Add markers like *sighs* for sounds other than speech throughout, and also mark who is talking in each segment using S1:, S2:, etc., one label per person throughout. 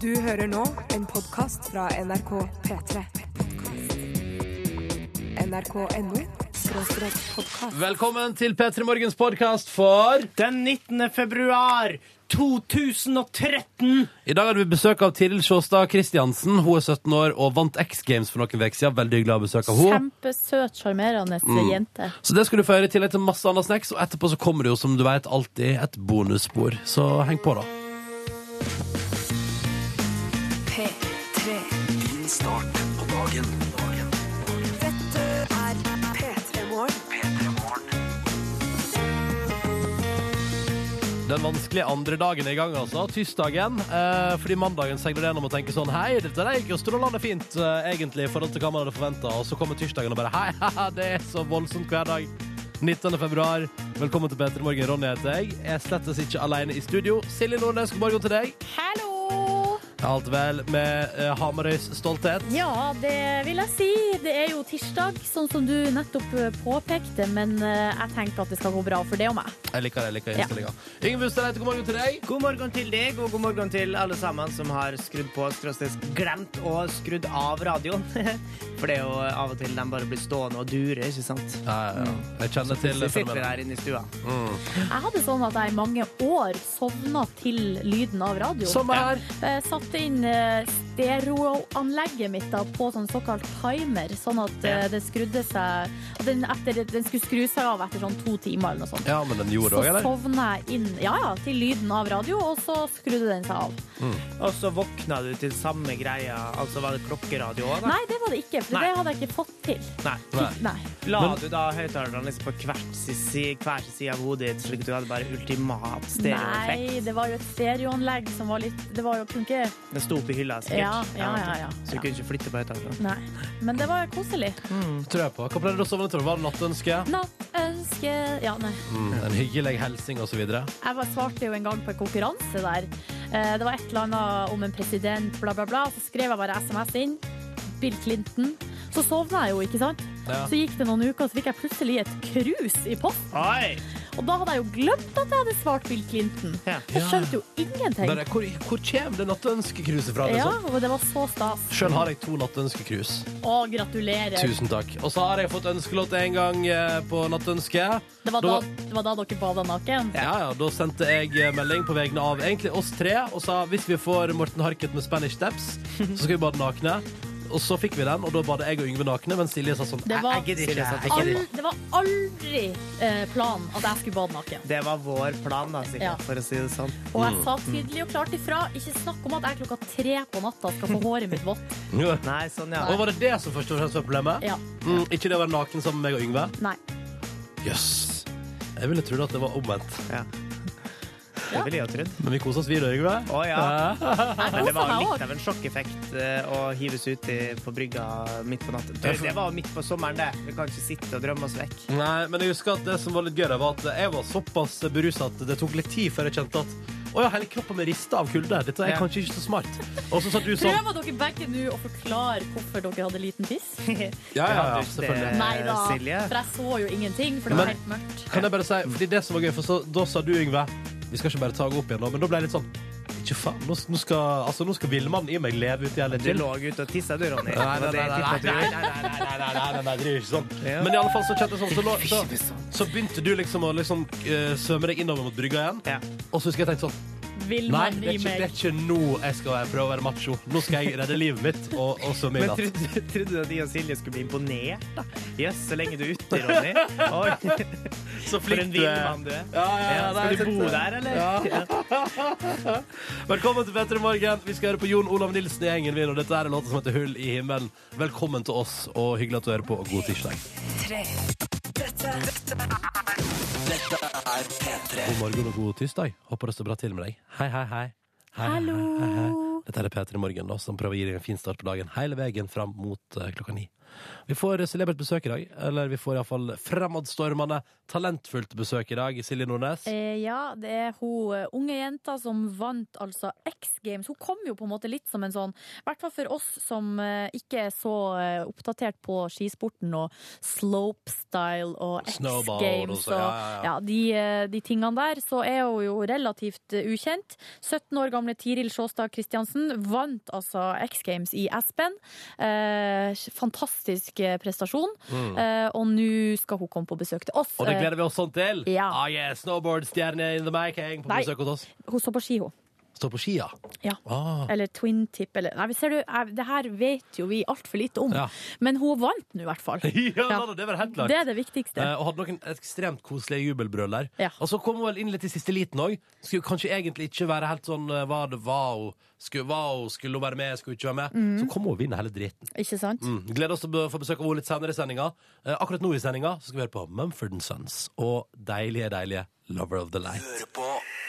S1: Du hører nå en podkast fra NRK P3. NRK.no skråstrek podkast.
S2: Velkommen til P3 Morgens podkast for
S3: Den 19. februar 2013.
S2: I dag hadde vi besøk av Tiril Sjåstad Kristiansen. Hun er 17 år og vant X Games for noen uker siden. Veldig hyggelig å ha besøk av henne.
S4: Kjempesøt, sjarmerende jente.
S2: Så det skal du få høre i tillegg til masse annet snacks, og etterpå så kommer det jo, som du vet, alltid et bonusspor. Så heng på, da.
S1: P3. Dette er P3 Morgen.
S2: Den vanskelige andre dagen er i gang, altså. Tirsdagen. Eh, fordi mandagen seiler det gjennom å tenke sånn Hei, dette der gikk jo strålende fint, eh, egentlig, i forhold til hva man hadde forventa. Og så kommer tirsdagen og bare Hei, *laughs* haha, det er så voldsomt hver dag. 19. februar. Velkommen til P3 Morgen. Ronny heter jeg. Jeg er slettes ikke alene i studio. Silje Nordnes, god morgen til deg.
S4: Hallo!
S2: Alt vel med eh, Hamarøys stolthet.
S4: Ja, det vil jeg si. Det er jo tirsdag, sånn som du nettopp eh, påpekte. Men eh, jeg tenker at det skal gå bra for det og meg.
S2: Jeg liker det. jeg liker
S4: Ja.
S2: innstillinga. Yngve Ustadreite, god morgen til deg.
S3: God morgen til deg, og god morgen til alle sammen som har skrudd på, skråstrek glemt og skrudd av radioen. *laughs* For det er jo eh, av og til de bare blir stående og dure, ikke sant?
S2: Mm. Jeg kjenner til
S3: Vi sitter
S2: fenomenet.
S3: der inne i stua.
S4: Jeg hadde sånn at jeg i mange år sovna til lyden av radio.
S2: Samme her.
S4: Jeg satte inn eh, stereoanlegget mitt da, på sånn såkalt timer, sånn at eh, det skrudde seg at den, etter, den skulle skru seg av etter sånn to timer eller noe sånt.
S2: Ja, men den
S4: Så
S2: gjorde òg, eller?
S4: sovna jeg inn ja, ja, til lyden av radio, og så skrudde den seg av.
S3: Og så våkna du til samme greia. Altså var det klokkeradio òg, da?
S4: Nei, det var det ikke, for
S3: Nei.
S4: det hadde jeg ikke fått til.
S3: Nei.
S2: Nei.
S4: Nei.
S3: La
S2: Men-
S3: du da høyttalerne liksom på hvert si- si- hver sin side av hodet ditt, slik at du hadde bare ultimat stereoeffekt?
S4: Nei, det var jo et stereoanlegg som var litt Det var jo kunne ikke
S3: Det sto oppi hylla, sikkert.
S4: Ja, ja, ja, ja.
S3: Så du kunne ikke flytte på høyttalerne.
S4: Nei. Men det var koselig.
S2: Tror jeg på. Hva pleide du å sovne til? Var det nattønske?
S4: Nattønske Ja, nei.
S2: Mm, en hyggelig hilsing osv.?
S4: Jeg var, svarte jo en gang på en konkurranse der. Eh, Det var et eller annet om en president, bla, bla, bla. Så skrev jeg bare SMS inn. Bill Clinton. Så sovna jeg jo, ikke sant?
S2: Ja.
S4: Så gikk det noen uker, så fikk jeg plutselig et krus i posten.
S3: Oi!
S4: Og da hadde jeg jo glemt at jeg hadde svart Bill Clinton.
S3: Ja.
S4: Jeg skjønte jo ingenting.
S2: Bare, hvor, hvor kommer det nattønskekruset fra?
S4: Ja,
S2: Liksom?
S4: og det var så stas.
S2: Sjøl har jeg to nattønskekrus.
S4: Å, gratulerer.
S2: Tusen takk. Og så har jeg fått ønskelåt én gang eh, på nattønske.
S4: Det var
S2: Da
S4: da,
S2: var-
S4: det var da dere bada naken?
S2: Ja, ja, Da sendte jeg eh, melding på vegne av egentlig oss tre og sa hvis vi får Morten Harket med Spanish Steps, så skal vi bade nakne. Og så fikk vi den, og da badet jeg og Yngve nakne, men Silje sa sånn
S4: Det
S2: "Æ,
S4: var,
S3: Jeg gidder ikke. Jeg
S4: aldri,
S3: gidder ikke.
S4: det var aldri eh, planen at jeg skulle bade naken.
S3: Det var vår plan, da, sikkert,
S4: Ja.
S3: for å si det sånn.
S4: Og
S2: Mm.
S4: jeg sa tydelig og klart ifra. Ikke snakk om at jeg klokka tre på natta skal få håret
S2: *laughs*
S4: mitt vått.
S2: Ja.
S3: Nei, sånn, ja.
S2: Og var det det som først og fremst var problemet?
S4: Ja.
S2: Mm, ikke det å være naken sammen med meg og Yngve?
S4: Nei.
S2: Jøss. Jeg ville trodd at det var omvendt.
S3: Ja. Det ville jeg jo trodd.
S2: Men vi koser oss, vi da, Yngve.
S3: Å ja. Men det var jo
S4: Jeg koser meg
S3: litt
S4: òg.
S3: av en sjokkeffekt eh, å hives ut i- på brygga midt på natten. Du, det var jo midt på sommeren, det. Vi kan ikke sitte og drømme oss vekk.
S2: Nei, men jeg husker at det som var litt gøy, da, var at jeg var såpass berusa at det tok litt tid før jeg kjente at å ja, hele kroppen min rista av kulde. Dette er
S3: Ja.
S2: kanskje ikke så smart. Og så sa du sånn.
S4: Prøver dere begge nå å forklare hvorfor dere hadde liten tiss?
S2: *laughs* Ja, ja, ja,
S3: hadde du ikke
S2: selvfølgelig.
S3: det.
S4: Nei da, for
S3: Silje?
S4: jeg så jo ingenting, for det var
S2: Men-
S4: helt mørkt.
S2: Kan jeg bare si, fordi det som var gøy, for så, da sa du, Yngve Vi skal ikke bare ta henne opp igjen nå, men da ble jeg litt sånn Ikke faen, nå, nå skal, altså, nå skal villmannen i meg leve ut i hele
S3: Du
S2: til.
S3: lå ute og tissa, du,
S2: Nei, nei,
S3: Ronny. Det var det
S2: nei,
S3: jeg
S2: nei,
S3: tippet
S2: nei,
S3: du
S2: nei,
S3: gjorde.
S2: nei, nei, nei, nei, nei, nei, det er jo ikke sånn.
S3: Ja.
S2: Men i alle fall så kjente jeg sånn, så, lå- så, så begynte du liksom å liksom, eh, svømme deg innover mot brygga igjen.
S3: Ja.
S2: Og så husker jeg tenkte sånn
S4: Vil
S2: Nei,
S4: man
S2: det er
S4: i
S2: ikke, det er
S4: meg?
S2: ikke nå jeg skal være- prøve å være macho. Nå skal jeg redde livet mitt og, og svømme i
S3: *laughs* Men
S2: natt.
S3: trodde, trodde du at jeg og Silje skulle bli imponert? da? Jøss, så lenge du er ute, Ronny. Oi,
S2: Så
S3: for en
S2: du er.
S3: villmann du er.
S2: Ja, ja, eh, ja,
S3: Ja,
S2: nei, jeg
S3: skal du bo
S2: tenkte-
S3: der, eller?
S2: Ja. Velkommen til Petter i morgen. Vi skal høre på Jon Olav Nilsen i gjengen min, og dette er en låt som heter Hull i himmelen. Velkommen til oss, og hyggelig at du hører på, og god tirsdag. God morgen og god tirsdag. Håper det står bra til med deg. Hei, hei, hei. Hei,
S4: Hallo.
S2: *laughs* hei, hei, hei. Dette er Peter i morgen, da, som prøver å gi deg en fin start på dagen hele veien fram mot eh, klokka ni. Vi får celebert besøk i dag. Eller vi får iallfall fremadstormende, talentfullt besøk i dag. Silje Nordnes.
S4: Eh, ja, det er hun eh, unge jenta som vant altså X Games. Hun kom jo på en måte litt som en sånn, i hvert fall for oss som eh, ikke er så eh, oppdatert på skisporten og slopestyle og X
S2: Snowboard
S4: Games
S2: også,
S4: og
S2: ja, ja, ja.
S4: ja, de, eh, de tingene der, så er hun jo relativt eh, ukjent. 17 år gamle Tiril Sjåstad Kristiansen vant altså X Games i Aspen. Eh, fantastisk eh, prestasjon. Eh, og nå skal hun komme på besøk til oss.
S2: Mm. Og det
S4: Eh,
S2: gleder vi oss sånn til.
S4: Ja.
S2: Ah, yeah, Snowboardstjerne in the making på
S4: Nei.
S2: besøk hos oss.
S4: Eh, Hun står på ski, hun.
S2: Står på skia.
S4: Ja.
S2: Ah.
S4: Eller twin tip, eller Nei, men ser du, jeg- det her vet jo vi altfor lite om.
S2: Ja.
S4: Men hun vant nå, i hvert fall.
S2: *laughs* *laughs* ja, la det- det var helt klart.
S4: Det er det viktigste.
S2: Eh, Og hadde noen ekstremt koselige jubelbrøl der.
S4: Ja.
S2: Og så kom hun vel inn litt i siste liten òg. Skulle kanskje egentlig ikke være helt sånn eh, hva det var hun skulle, var hun, skulle hun være med, skulle hun ikke være med.
S4: Mm.
S2: Så kom hun og vinner hele driten.
S4: Ikke sant?
S2: Mm. Gleder oss til å be- få besøk av henne litt senere i sendinga. Eh, akkurat nå i sendinga så skal vi høre på Mumford Sons og deilige, deilige Lover of the Light.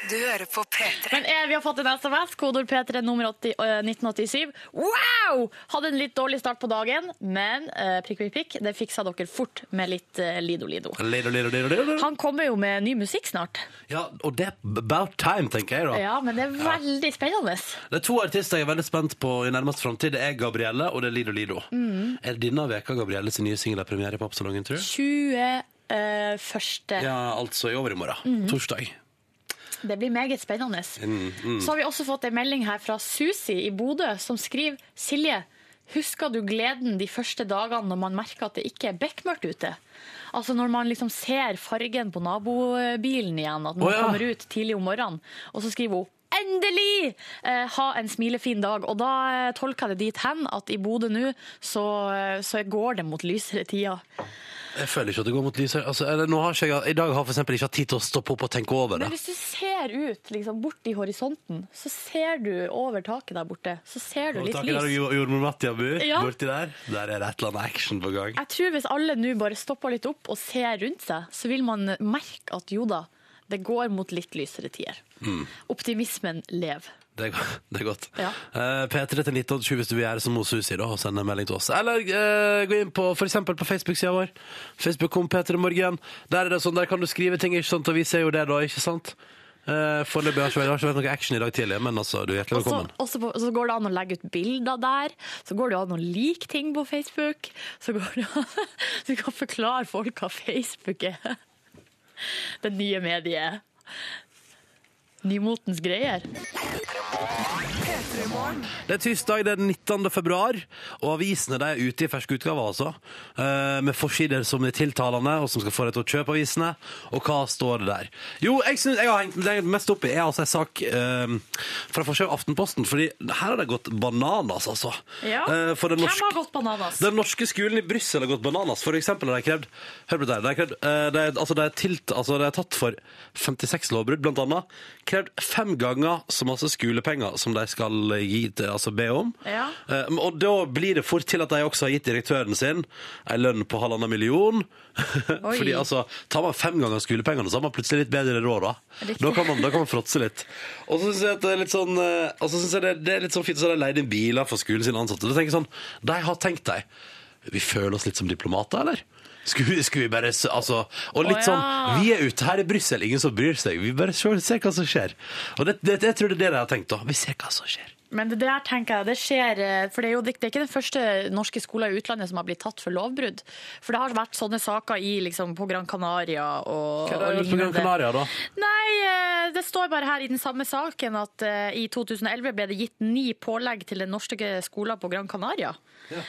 S5: Du hører på P3.
S4: Men eh, vi har fått en SMS, kodord P3 nummer 80, eh, 1987. Wow! Hadde en litt dårlig start på dagen, men eh, prikk, prikk, prikk, det fiksa dere fort med litt eh, Lido Lido.
S2: Lido, lido, lido, lido.
S4: Han kommer jo med ny musikk snart.
S2: Ja, og det er about time, tenker jeg, da.
S4: Ja, men det er veldig spennende.
S2: Det er to artister jeg er veldig spent på i nærmest framtid. Det er Gabrielle, og det er Lido Lido.
S4: Mm.
S2: Er det denne veka Gabrielle sin nye singel har premiere i popsalongen, tror du?
S4: 21. eh, første.
S2: Ja, altså i overmorgen.
S4: Mm.
S2: Torsdag.
S4: Det blir meget spennende.
S2: Mm,
S4: Så har vi også fått en melding her fra Susi i Bodø, som skriver Silje, husker du gleden de første dagene når man merker at det ikke er bekmørkt ute? Altså når man liksom ser fargen på nabobilen igjen, at man
S2: Å, ja.
S4: kommer ut tidlig om morgenen, og så skriver hun Endelig! Eh, ha en smilefin dag. Og da eh, tolker jeg det dit hen at i Bodø nå, så, eh, så går det mot lysere tider.
S2: Jeg føler ikke at det går mot lyset. Altså, eller, nå har ikke jeg, I dag har jeg for eksempel ikke hatt tid til å stoppe opp og tenke over
S4: Men
S2: det.
S4: hvis du ser ut liksom, bort i horisonten, så ser du over taket der borte. Så ser du
S2: Og
S4: litt
S2: taket der
S4: lys.
S2: jord- jordmor Mattia bor,
S4: Ja.
S2: borti der, der er det et eller annet action på gang.
S4: Jeg tror hvis alle nå bare stopper litt opp og ser rundt seg, så vil man merke at jo da, det går mot litt lysere tider.
S2: Mm.
S4: Optimismen lever.
S2: Det er, go- det er godt.
S4: Ja.
S2: Eh, P3 til 1987 hvis du vil gjøre som hos Susi, da, og sende en melding til oss. Eller eh, gå inn på for eksempel på Facebook-sida vår. Facebook kom P3 Morgen. Der er det sånn, der kan du skrive ting, ikke sant? og vi ser jo det da, ikke sant? Uh, Foreløpig har ikke vært- det har ikke vært noe action i dag tidlig, men altså, du er hjertelig
S4: Og så
S2: velkommen.
S4: og så- og så går det an å legge ut bilder der, så går det an å like ting på Facebook, så går det an *laughs* så du kan forklare folk hva Facebook er. *laughs* Det nye mediet. Nymotens greier.
S2: Det er tirsdag, det er den 19. februar, og avisene de er ute i ferske utgaver, altså. Eh, med forsider som er tiltalende, og som skal få deg til å kjøpe avisene. Og hva står det der? Jo, jeg synes jeg har hengt det jeg er mest opp i, er altså en sak eh, fra forsøk Aftenposten, fordi her har det gått bananas, altså. Eh, for den norske...
S4: gått bananas?
S2: Den norske skolen i Brussel har gått bananas. For eksempel har de krevd Hør på det her. De har, krevd, eh, de, altså, de, er tilt, altså, de er tatt for 56 lovbrudd, blant annet. Krevd fem ganger så masse skolepenger som de skal gi til, altså, be om.
S4: Ja.
S2: Eh, og da blir det fort til at de også har gitt direktøren sin ei lønn på halvannen million. *laughs* Fordi altså, tar man fem ganger skolepengene, så har man plutselig litt bedre råd, da.
S4: Riktig.
S2: Da kan man, da kan man fråtse litt. Og så syns jeg at det er litt sånn eh, Og så synes jeg det, det er litt sånn fint så har de leid inn biler for skolen sine ansatte. Da tenker jeg sånn, De har tenkt deg Vi føler oss litt som diplomater, eller? Skulle, vi- skulle vi bare s- altså, Og litt
S4: Å,
S2: sånn
S4: ja.
S2: Vi er ute her i Brussel, ingen som bryr seg. Vi bare ser, ser hva som skjer. Og det, det, jeg tror det er det de har tenkt, da. Vi ser hva som skjer.
S4: Men det der tenker jeg, det skjer eh, For det er jo det det er ikke den første norske skolen i utlandet som har blitt tatt for lovbrudd. For det har vært sånne saker i, liksom, på Gran Canaria og,
S2: Hva er det de har
S4: og
S2: gjort på Gran Canaria, da?
S4: Nei, eh, det står bare her i den samme saken at eh, i 2011 ble det gitt ni pålegg til den norske skolen på Gran Canaria.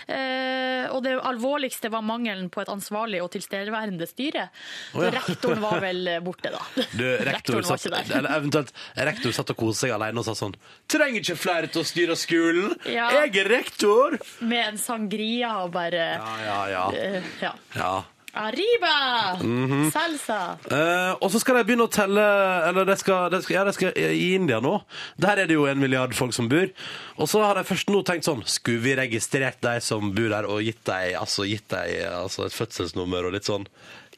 S4: Eh, og det alvorligste var mangelen på et ansvarlig og tilstedeværende styre. Så
S2: Å, ja.
S4: rektoren var vel eh, borte, da. *laughs*
S2: Du, rektor
S4: Rektoren var
S2: satt,
S4: ikke der.
S2: eller eventuelt, rektor satt og koste seg alene og sa sånn Trenger ikke flere til å styre skolen!
S4: Ja.
S2: Jeg er rektor!
S4: Med en sangria og bare
S2: Ja, ja, ja.
S4: eh, ja.
S2: ja.
S4: Arriba!
S2: Mhm.
S4: Salsa!
S2: Eh, og så skal de begynne å telle Eller de skal, de skal, ja, de skal i India nå. Der er det jo en milliard folk som bor. Og så har de først nå tenkt sånn Skulle vi registrert de som bor der, og gitt dem altså, gitt dem, altså et fødselsnummer og litt sånn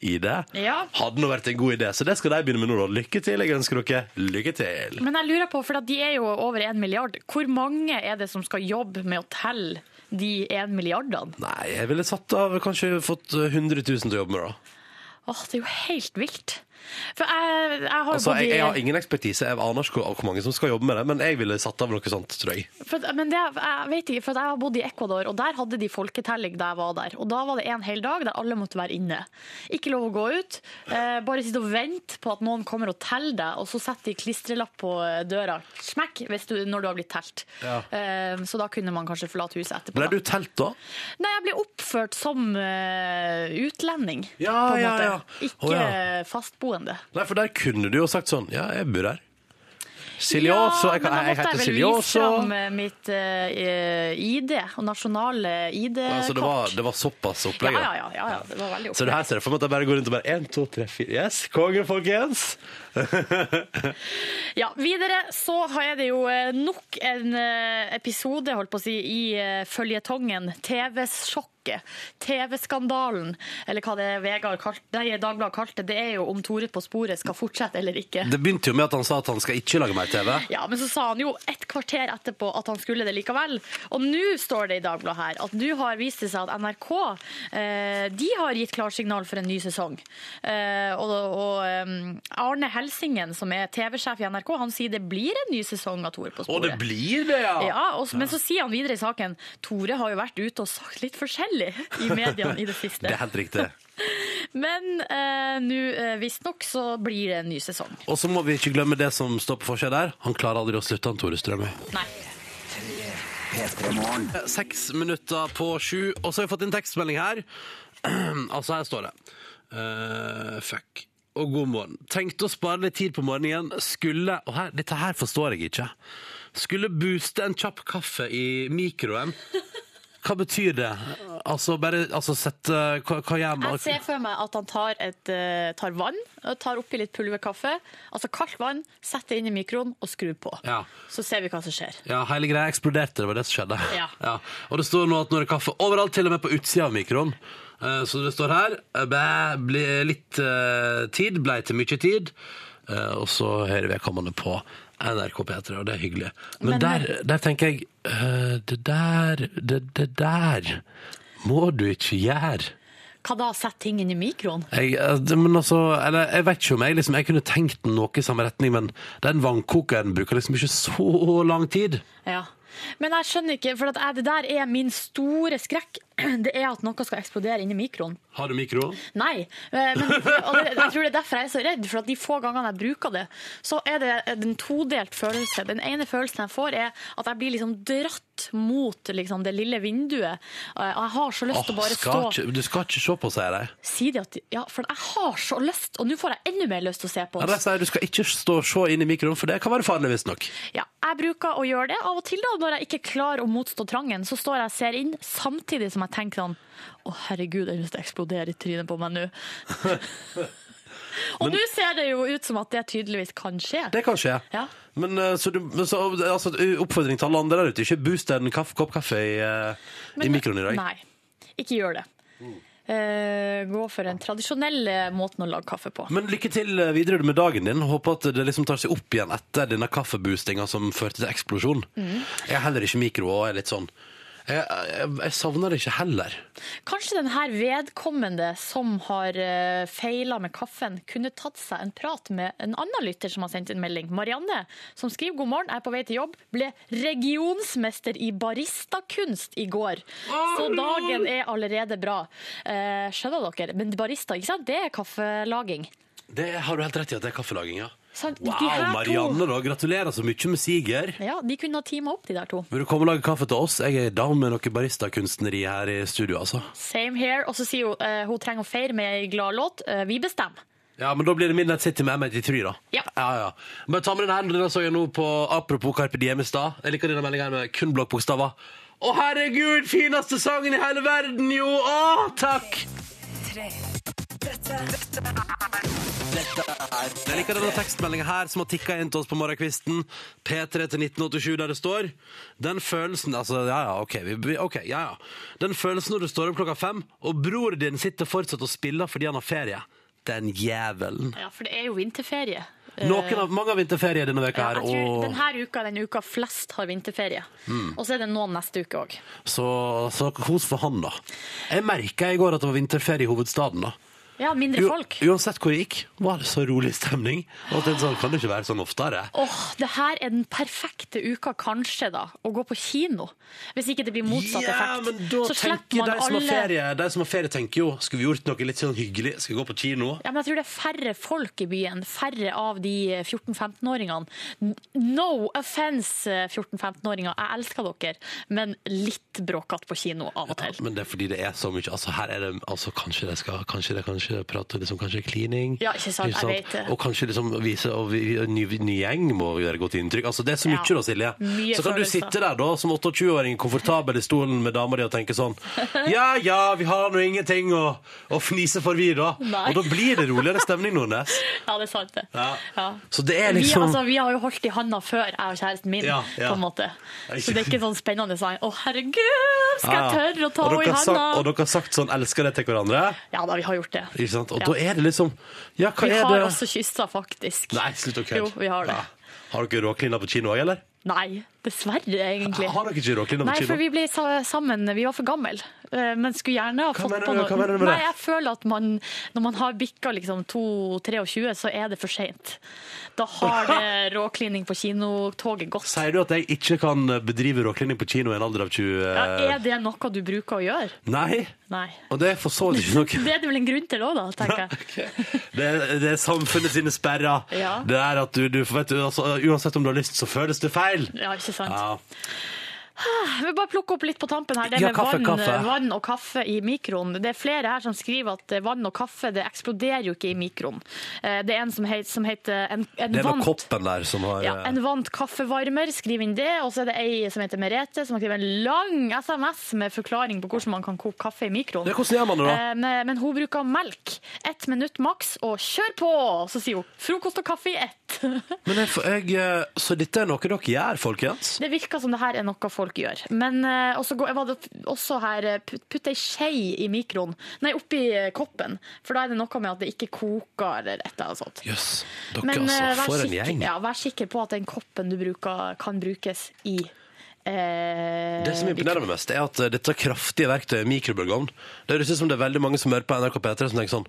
S2: i det?
S4: Ja.
S2: Hadde nå vært en god idé. Så det skal de begynne med nå. da. Lykke til. Jeg ønsker dere lykke til.
S4: Men jeg lurer på, for at de er jo over en milliard, hvor mange er det som skal jobbe med å telle de én milliardene.
S2: Nei, jeg ville satt av kanskje fått 100 000 til å jobbe med, da.
S4: Åh, det er jo helt vilt. For jeg, jeg har jo
S2: Altså,
S4: gått i-
S2: jeg, jeg har ingen ekspertise, jeg aner ikke hvor hvor mange som skal jobbe med det, men jeg ville satt av noe sånt, tror jeg.
S4: For, at- men det, jeg vet ikke, for at jeg har bodd i Ecuador, og der hadde de folketelling da jeg var der. Og da var det en hel dag der alle måtte være inne. Ikke lov å gå ut. Eh, bare sitte og vente på at noen kommer og teller deg, og så setter de klistrelapp på eh, døra. Smekk! Hvis du, når du har blitt telt. Eh, så da kunne man kanskje forlate huset etterpå.
S2: Ble
S4: da.
S2: du telt, da?
S4: Nei, jeg ble oppført som eh, utlending.
S2: Ja,
S4: på en
S2: ja,
S4: måte.
S2: ja.
S4: Ikke
S2: Å, ja.
S4: fastboende.
S2: Nei, for der kunne du jo sagt sånn Ja, jeg bor her. Siljoso.
S4: Ja,
S2: Jeg, kan- jeg, jeg
S4: men da måtte
S2: heter
S4: vel vise
S2: Siljoso.
S4: fram eh, mitt eh, ID, og nasjonale ID-kort.
S2: Altså, det, var, det var såpass
S4: Ja,
S2: opplegg. da.
S4: ja, ja, ja, ja. Det var veldig
S2: Så det her ser jeg for meg at jeg bare går rundt og bare 1, 2, 3, 4 Yes, konge, folkens!
S4: Ja, videre så er det jo eh, nok en eh, episode, holdt på å si, i eh, føljetongen TV-sjokket. TV-skandalen, eller hva det er Vegard kalt, nei, Dagbladet kalte det, det er jo om Tore på sporet skal fortsette eller ikke.
S2: Det begynte jo med at han sa at han skal ikke lage mer TV.
S4: Ja, men så sa han jo et kvarter etterpå at han skulle det likevel. Og nå står det i Dagbladet her at nå har vist det seg at NRK eh, de har gitt klarsignal for en ny sesong. Eh, og og eh, Arne Helsingen, som er TV-sjef i NRK, han sier det blir en ny sesong av Tore på
S2: Og
S4: sporet.
S2: det blir det,
S4: ja, og, men så sier han videre i saken Tore har jo vært ute og sagt litt forskjellig i mediene i det
S2: *laughs* Det
S4: siste.
S2: er helt riktig.
S4: Men eh, nå eh, visstnok så blir det en ny sesong.
S2: Og så må vi ikke glemme det som står på forsida der. Han klarer aldri å slutte, han Tore Strømøy.
S4: Nei.
S2: Seks minutter på sju, og så har jeg fått en tekstmelding her. *clears throat* altså, her står det. Eh, fuck. Og god morgen. Tenkte å spare litt tid på morgenen. Skulle Og her, dette her forstår jeg ikke. Skulle booste en kjapp kaffe i mikroen. Hva betyr det? Altså, bare altså, sette Hva, hva gjør man?
S4: Jeg ser for meg at han tar, et, eh, tar vann, og tar oppi litt pulverkaffe, altså kaldt vann, setter det inn i mikroen og skrur på.
S2: Ja.
S4: Så ser vi hva som skjer.
S2: Ja, hele greia eksploderte, det var det som skjedde. *laughs*
S4: Ja.
S2: Og det står nå at nå er det kaffe overalt, til og med på utsida av mikroen. Eh, Så det står her eh, bæ, ble litt eh, tid, blei til mye tid. Eh, Og så hører vedkommende på NRK P3, og det er hyggelig. Men,
S4: Men-
S2: der, der tenker jeg eh, Det der, det, det der må du ikke gjøre.
S4: Hva da? Sett ting inn i mikroen?
S2: Jeg, eh, det- men altså, eller, jeg vet ikke om jeg, liksom, jeg kunne tenkt noe i samme retning, men den vannkokeren bruker liksom ikke så lang tid.
S4: Ja. Men jeg skjønner ikke, for at jeg, det der er min store skrekk. *clears throat* Det er at noe skal eksplodere inn i mikroen.
S2: Har du mikro?
S4: Nei. eh, Men, og det, jeg tror det er derfor jeg er så redd, for at de få gangene jeg bruker det, så er det en todelt følelse. Den ene følelsen jeg får, er at jeg blir liksom dratt mot liksom, det lille vinduet. Og jeg har så lyst til å
S2: Åh,
S4: bare
S2: skal
S4: stå
S2: ikke, du skal ikke se på, sier de.
S4: si det at Ja, for jeg har så lyst, og nå får jeg enda mer lyst til å se på
S2: Ja, de
S4: oss.
S2: sier du skal ikke stå og se inn i mikroen, for det kan være farlig, visstnok.
S4: Ja, jeg bruker å gjøre det av og til, da. Når jeg ikke klarer å motstå trangen, så står jeg og ser inn, samtidig som jeg tenker sånn Å, herregud, jeg har lyst til å eksplodere i trynet på meg
S2: *laughs*
S4: nå. og nå ser det jo ut som at det tydeligvis kan skje.
S2: Det kan skje.
S4: Ja.
S2: Men, eh, så du, men så, altså, oppfordring til alle andre der ute, ikke boost en kaff, kopp kaffe i, eh, i mikroen i dag. Mm.
S4: Nei, ikke gjør det. Eh, gå for den tradisjonelle måten å lage kaffe på.
S2: Men lykke til eh, videre med dagen din. Håper at det liksom tar seg opp igjen etter denne kaffeboostinga som førte til eksplosjon.
S4: Mm.
S2: Jeg er heller ikke mikro og er litt sånn Jeg, jeg, jeg savner det ikke heller.
S4: Kanskje den her vedkommende som har uh, feila med kaffen, kunne tatt seg en prat med en annen lytter som har sendt en melding. Marianne, som skriver 'God morgen, jeg er på vei til jobb', ble regionsmester i baristakunst i går. Så dagen er allerede bra. Eh, skjønner dere? Men barista, ikke sant? det er kaffelaging.
S2: Det har du helt rett i at det er kaffelaging, ja.
S4: Sant? De
S2: Wow,
S4: her to-
S2: Marianne, da. Gratulerer så mye med siger.
S4: Ja, De kunne ha teama opp, de der to.
S2: Vil du komme og lage kaffe til oss? Jeg er down med noe baristakunstneri her i studio, altså.
S4: Same here. Og så sier hun eh, hun trenger å feire med ei gladlåt. Uh, vi bestemmer.
S2: Ja, men da blir det Midnight City med M83, da.
S4: Ja.
S2: ja, ja. Men ta med den her, den så jeg nå på apropos Carpe Diem i stad. Jeg liker denne meldingen her med kun blokkbokstaver. Å, herregud, fineste sangen i hele verden, jo! Å, takk! Jeg liker denne tekstmeldingen her som har tikket inn til oss på morgenkvisten. P3 til 1987 der det står. Den følelsen, altså, ja, ja, ok, vi, vi- ok, ja, ja. Den følelsen når du står opp klokka fem, og bror din sitter fortsatt og spiller fordi han har ferie. Den jævelen.
S4: Ja, For det er jo vinterferie.
S2: Noen av, mange har vinterferie denne veka her,
S4: Øh. jeg tror
S2: og Hmm.
S4: denne uka er den uka flest har vinterferie. Og så er det noen neste uke òg.
S2: så, så kos for han, da. Jeg merka i går at det var vinterferie i hovedstaden, da.
S4: Ja, mindre
S2: U-
S4: folk.
S2: Uansett hvor jeg gikk, var det så rolig stemning. Og jeg tenkte sånn, kan det ikke være sånn oftere?
S4: Åh, det her er den perfekte uka, kanskje, da, å gå på kino. Hvis ikke det blir motsatt
S2: Ja,
S4: effekt.
S2: men da tenker de som har ferie, de som har ferie tenker jo Skal vi gjort noe litt sånn hyggelig? Skal vi gå på kino?
S4: Ja, men jeg tror det er færre folk i byen. Færre av de 14-15-åringene. N- No offence, 14-15-åringer. Jeg elsker dere, men litt bråkete på kino av og til.
S2: Men det er fordi det er så mye Altså her er det altså, Kanskje det skal Kanskje det kanskje prate liksom, Kanskje klining
S4: Ja, ikke sant, jeg vet det.
S2: Og kanskje liksom vise Og vi, en ny, ny gjeng må gjøre godt inntrykk Altså det er så mye
S4: Ja.
S2: da, Silje
S4: Mye
S2: Så kan du
S4: følelser.
S2: sitte der da Som 28-åring Komfortabel i stolen med damer di Og tenke
S4: *laughs*
S2: sånn Ja, ja, vi har nå ingenting Å, å fnise for vi da
S4: Nei.
S2: Og da blir det roligere stemning noen
S4: *laughs* Ja, det er sant, det.
S2: Ja.
S4: Ja.
S2: Så det er
S4: Vi,
S2: liksom
S4: altså, vi har jo holdt i handa før, jeg og kjæresten min.
S2: Ja, ja.
S4: på en måte.
S2: Nei.
S4: Så det er ikke sånn spennende sånn Å, herregud, skal jeg
S2: Ja.
S4: tørre å ta
S2: Ah. Og
S4: henne
S2: dere
S4: i
S2: har sagt- Og
S4: handa?
S2: dere har sagt sånn Elsker det til hverandre
S4: Ja da, vi har gjort det.
S2: Ikke sant? Og
S4: Ja.
S2: da er det liksom Ja, hva
S4: Vi
S2: er det?
S4: har også kyssa, faktisk.
S2: Nei, slutt å kødde.
S4: Jo, vi har det.
S2: Ja. Har dere råklina på kino òg, eller?
S4: Nei, dessverre, egentlig.
S2: Har dere ikke råklina på
S4: Nei,
S2: kino?
S4: for vi ble sa- sammen, vi var for gammel, eh, men skulle gjerne ha fått
S2: mener
S4: på
S2: du-
S4: noe.
S2: hva mener du med
S4: Nei,
S2: det?
S4: jeg føler at man, når man har bikka liksom 2-23, så er det for seint. Da
S2: *laughs*
S4: har det råklining på kinotoget gått.
S2: Sier du at jeg ikke kan bedrive råklining på kino i en alder av 20
S4: Ja, er det noe du bruker å gjøre?
S2: Nei.
S4: Nei.
S2: Og det er for så vidt ikke
S4: *laughs*
S2: noe
S4: Det er det vel en grunn til òg, da, tenker
S2: *laughs*
S4: jeg.
S2: det, er- det er samfunnet sine sperrer.
S4: Ja.
S2: Det er at du, du vet, du, altså, Uansett om du har lyst, så føles det feil.
S4: Ja, ikke sant.
S2: Ja.
S4: Vi bare plukke opp litt på tampen her. Det
S2: Ja,
S4: med
S2: kaffe,
S4: vann, eh,
S2: kaffe.
S4: vann og kaffe i mikroen. Det er flere her som skriver at eh, vann og kaffe det eksploderer jo ikke i mikroen. Eh, Det er en som heter, som heter en, en
S2: Det er eh. nok
S4: vant
S2: koppen der som har
S4: Ja, en vant kaffevarmer, skriv inn det. Og så er det ei som heter Merete, som har skrevet en lang SMS med forklaring på hvordan man kan koke kaffe i mikroen.
S2: Ja, hvordan gjør man det da?
S4: Eh, Men, men hun bruker melk. Ett minutt maks, og kjør på! Så sier hun frokost og kaffe i ett. *laughs*
S2: Men jeg, jeg, eh, så dette er noe dere gjør, folkens?
S4: Det virker som det her er noe folk gjør. Men eh, også går- var det også her eh, put- Putt ei skje i mikroen, nei, oppi eh, koppen. For da er det noe med at det ikke koker eller et eller annet sånt.
S2: Jøss. Dere,
S4: Men eh,
S2: altså.
S4: vær,
S2: For en
S4: sikker,
S2: gjeng.
S4: ja, vær sikker på at den koppen du bruker, kan brukes i eh,
S2: Det som imponerer meg mest, er at eh, dette kraftige verktøyet, mikrobølgeovn Det høres ut som det er veldig mange som hører på NRK P3 som tenker sånn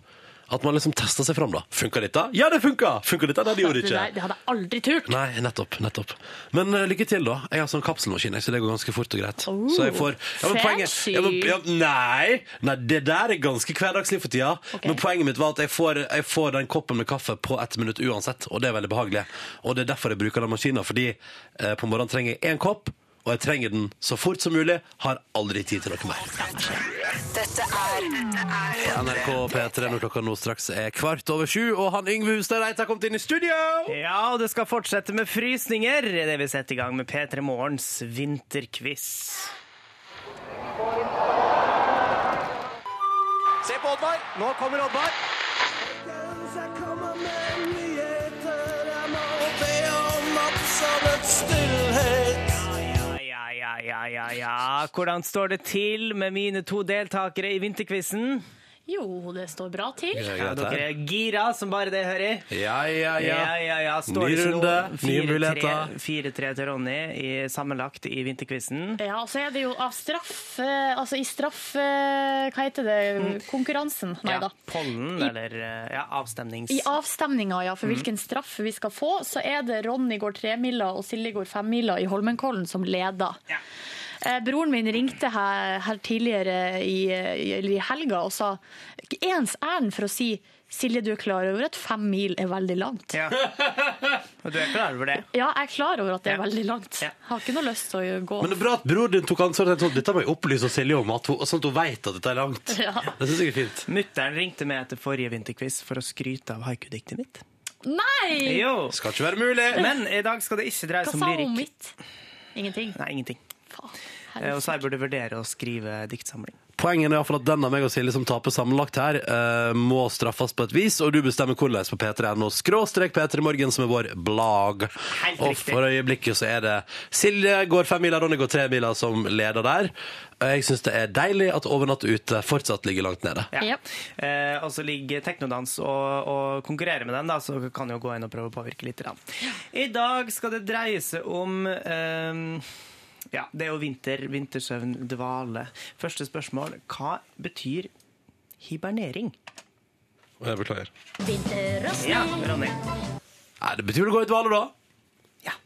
S2: At man liksom tester seg fram, da. Funka dette? Ja, det funka! Funka dette? Nei, det gjorde det
S4: *laughs* Det,
S2: ikke.
S4: der, det hadde jeg aldri turt.
S2: Nei, nettopp. nettopp. Men eh, lykke til, da. Jeg har sånn kapselmaskin, jeg, så det går ganske fort og greit. så jeg får ja, men poenget,
S4: Oh, fancy.
S2: ja, men, ja, nei, nei, det der er ganske hverdagslig for tida.
S4: Ok.
S2: Men poenget mitt var at jeg får, jeg får den koppen med kaffe på ett minutt uansett, og det er veldig behagelig. Og det er derfor jeg bruker den maskinen, fordi eh, på morgenen trenger jeg én kopp. Og jeg trenger den så fort som mulig. Har aldri tid til noe mer.
S6: Dette er
S2: NRK P3 når klokka nå straks er kvart over sju, og han Yngve Hustad Reit har kommet inn i studio!
S3: Ja, og det skal fortsette med frysninger, det vi setter i gang med P3 Morgens vinterquiz. Se på Oddvar! Nå kommer Oddvar. Ja, ja, ja, ja, ja, ja. Hvordan står det til med mine to deltakere i vinterquizen?
S4: Jo, det står bra til.
S3: Ja, dere er gira som bare det, hører jeg.
S2: Ja, ja, ja.
S3: Ja, ja, ja. Står
S2: Ny
S3: det ikke noe
S2: runde, nye
S3: 4-3
S2: muligheter.
S3: 4-3 til Ronny i, sammenlagt i vinterquizen.
S4: Ja, og så er det jo av straff eh, Altså i straff... eh, Hva heter det? Konkurransen. Nei da.
S3: pollen,
S4: I-
S3: eller eh, ja, avstemnings...
S4: I avstemninga ja,
S3: Mhm.
S4: for hvilken straff vi skal få, så er det Ronny går tremila og Silje går femmila i Holmenkollen som leder.
S3: Ja.
S4: Eh, Broren min ringte her, her tidligere i, i, eller i helga og sa ens ærend for å si Silje, du er klar over at fem mil er veldig langt? Ja,
S3: Ja. Og du er klar over det?
S4: jeg er klar over at det
S3: Ja.
S4: er veldig langt.
S3: Ja.
S4: Har ikke noe lyst til å gå.
S2: Men det er bra at bror din tok ansvar. og tenkte sånn, Dette må jeg opplyse Silje om, at hun, sånn at hun vet at dette er langt.
S4: Ja.
S2: Det synes jeg er fint.
S3: Mutter'n ringte meg etter forrige vinterquiz for å skryte av haikudiktet mitt.
S4: Nei!
S3: Jo.
S2: Skal ikke være mulig.
S3: Men i dag skal det ikke dreie
S4: Hva
S3: seg om
S4: sa hun
S3: lyrikk.
S4: mitt? Ingenting.
S3: Nei, ingenting.
S4: Faen.
S3: Eh, Og
S4: herregud.
S3: så jeg burde vurdere å skrive diktsamling.
S2: Poenget er i hvert fall at den av meg og Silje som taper sammenlagt her, eh, må straffes på et vis, og du bestemmer hvordan på p3.no. Skråstrek P3 Morgen, som er vår blag.
S3: Helt
S2: Og
S3: riktig.
S2: for øyeblikket så er det Silje går fem miler, Ronny går tre miler som leder der. Og Jeg syns det er deilig at Overnatt ute fortsatt ligger langt nede.
S3: Ja.
S4: Yep.
S3: Eh, og så ligger Teknodans og, og konkurrerer med den, da, så kan jo gå inn og prøve å påvirke litt. Da. I dag skal det dreie seg om eh, Ja, det er jo vinter, vintersøvn, dvale. Første spørsmål. Hva betyr hibernering?
S2: Jeg beklager.
S3: Ja, Ronny.
S2: Nei, det betyr det går i dvale, da.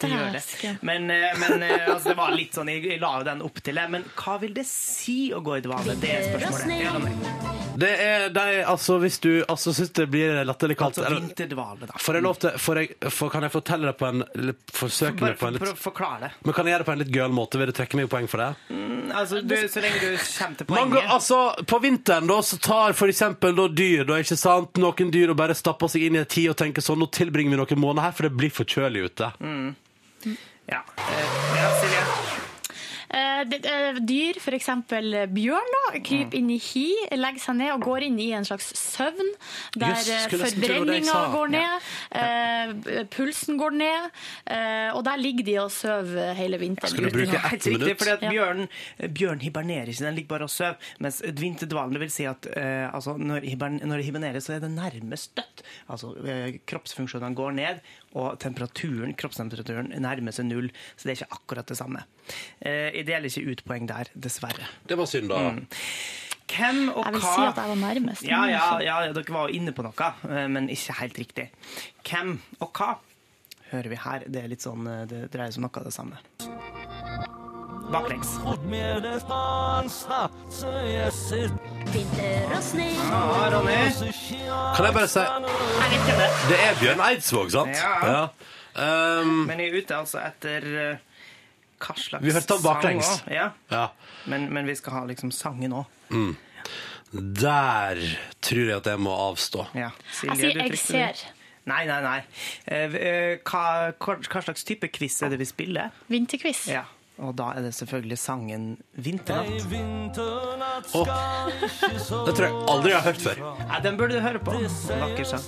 S3: Det gjør det.
S4: Dæsken.
S3: Men, eh, men eh, altså, det var litt sånn, jeg, jeg la jo den opp til det. Men hva vil det si å gå i dvale? Det er spørsmålet. Ja, Ronny.
S2: Det er de, altså Hvis du altså, syns det blir latterlig kaldt
S3: Altså
S2: eller-
S3: vinterdvale, da.
S2: Får jeg lov til får jeg, får, Kan jeg fortelle det på en litt- Forsøke
S3: Bare
S2: meg på en
S3: for, for å
S2: litt
S3: forklare det.
S2: Men kan jeg gjøre det på en litt gøyal måte? Vil du trekke meg poeng for det?
S3: Altså, du, så lenge du kommer til
S2: Man
S3: poenget.
S2: går, altså, på vinteren da, så tar for eksempel da, dyr da, ikke sant? noen dyr og bare stapper seg inn i en tid og tenker sånn, nå tilbringer vi noen måneder her, for det blir for kjølig ute.
S3: Mm. Ja. Eh, ja, Silje.
S4: Eh, det, eh, dyr, f.eks. bjørn, da,
S2: Mm.
S4: kryper inn i hi, legger seg ned og går inn i en slags søvn. Der
S2: Jøss,
S4: eh,
S2: skulle nesten tro det var det jeg
S4: forbrenninga
S2: sa.
S4: går ned, eh, pulsen går ned, eh, og der ligger de og sover hele vinteren.
S2: Skal du bruke
S4: uten å-
S2: ett
S3: Helt riktig,
S2: minutt?
S3: fordi at
S4: Ja.
S3: bjørn, bjørn hibernerer ikke, den ligger bare og sover. Mens vinterdvalen, det vil si at eh, altså, når, hibern, når det hibernerer, så er det nærmest dødt. Altså, eh, kroppsfunksjonene går ned, og temperaturen, kroppstemperaturen nærmer seg null. Så det er ikke akkurat det samme. Eh, jeg deler ikke ut poeng der, dessverre.
S2: Det var synd da.
S3: Mm. Hvem og hva
S4: Jeg vil si at jeg var nærmest.
S3: Ja,
S4: men
S3: ja,
S4: altså.
S3: ja, ja, dere var jo inne på noe, eh, men ikke helt riktig. Hvem og hva hører vi her. Det er litt sånn, eh, det dreier seg om noe av det samme. Baklengs. Ja, Ronny.
S2: Kan jeg bare si,
S3: Jeg vet ikke det.
S2: det er Bjørn Eidsvåg, sant?
S3: Ja.
S2: Ja. Um,
S3: Men jeg er ute altså etter eh, hva slags
S2: Vi hørte han baklengs.
S3: sang også. Ja.
S2: ja.
S3: Men, men vi skal ha liksom sangen òg.
S2: Der tror jeg at jeg må avstå.
S3: Ja.
S4: Jeg
S3: Silje,
S4: sier
S3: du
S4: 'jeg
S3: trykte den.
S4: ser'.
S3: Nei, nei, nei. Eh, eh, hva, hva hva slags type quiz er det vi spiller?
S4: Vinterquiz.
S3: Ja. Og da er det selvfølgelig sangen 'Vinternatt'.
S2: Åh, det tror jeg aldri jeg har hørt før.
S3: Ja, den burde du høre på. Vakker sang.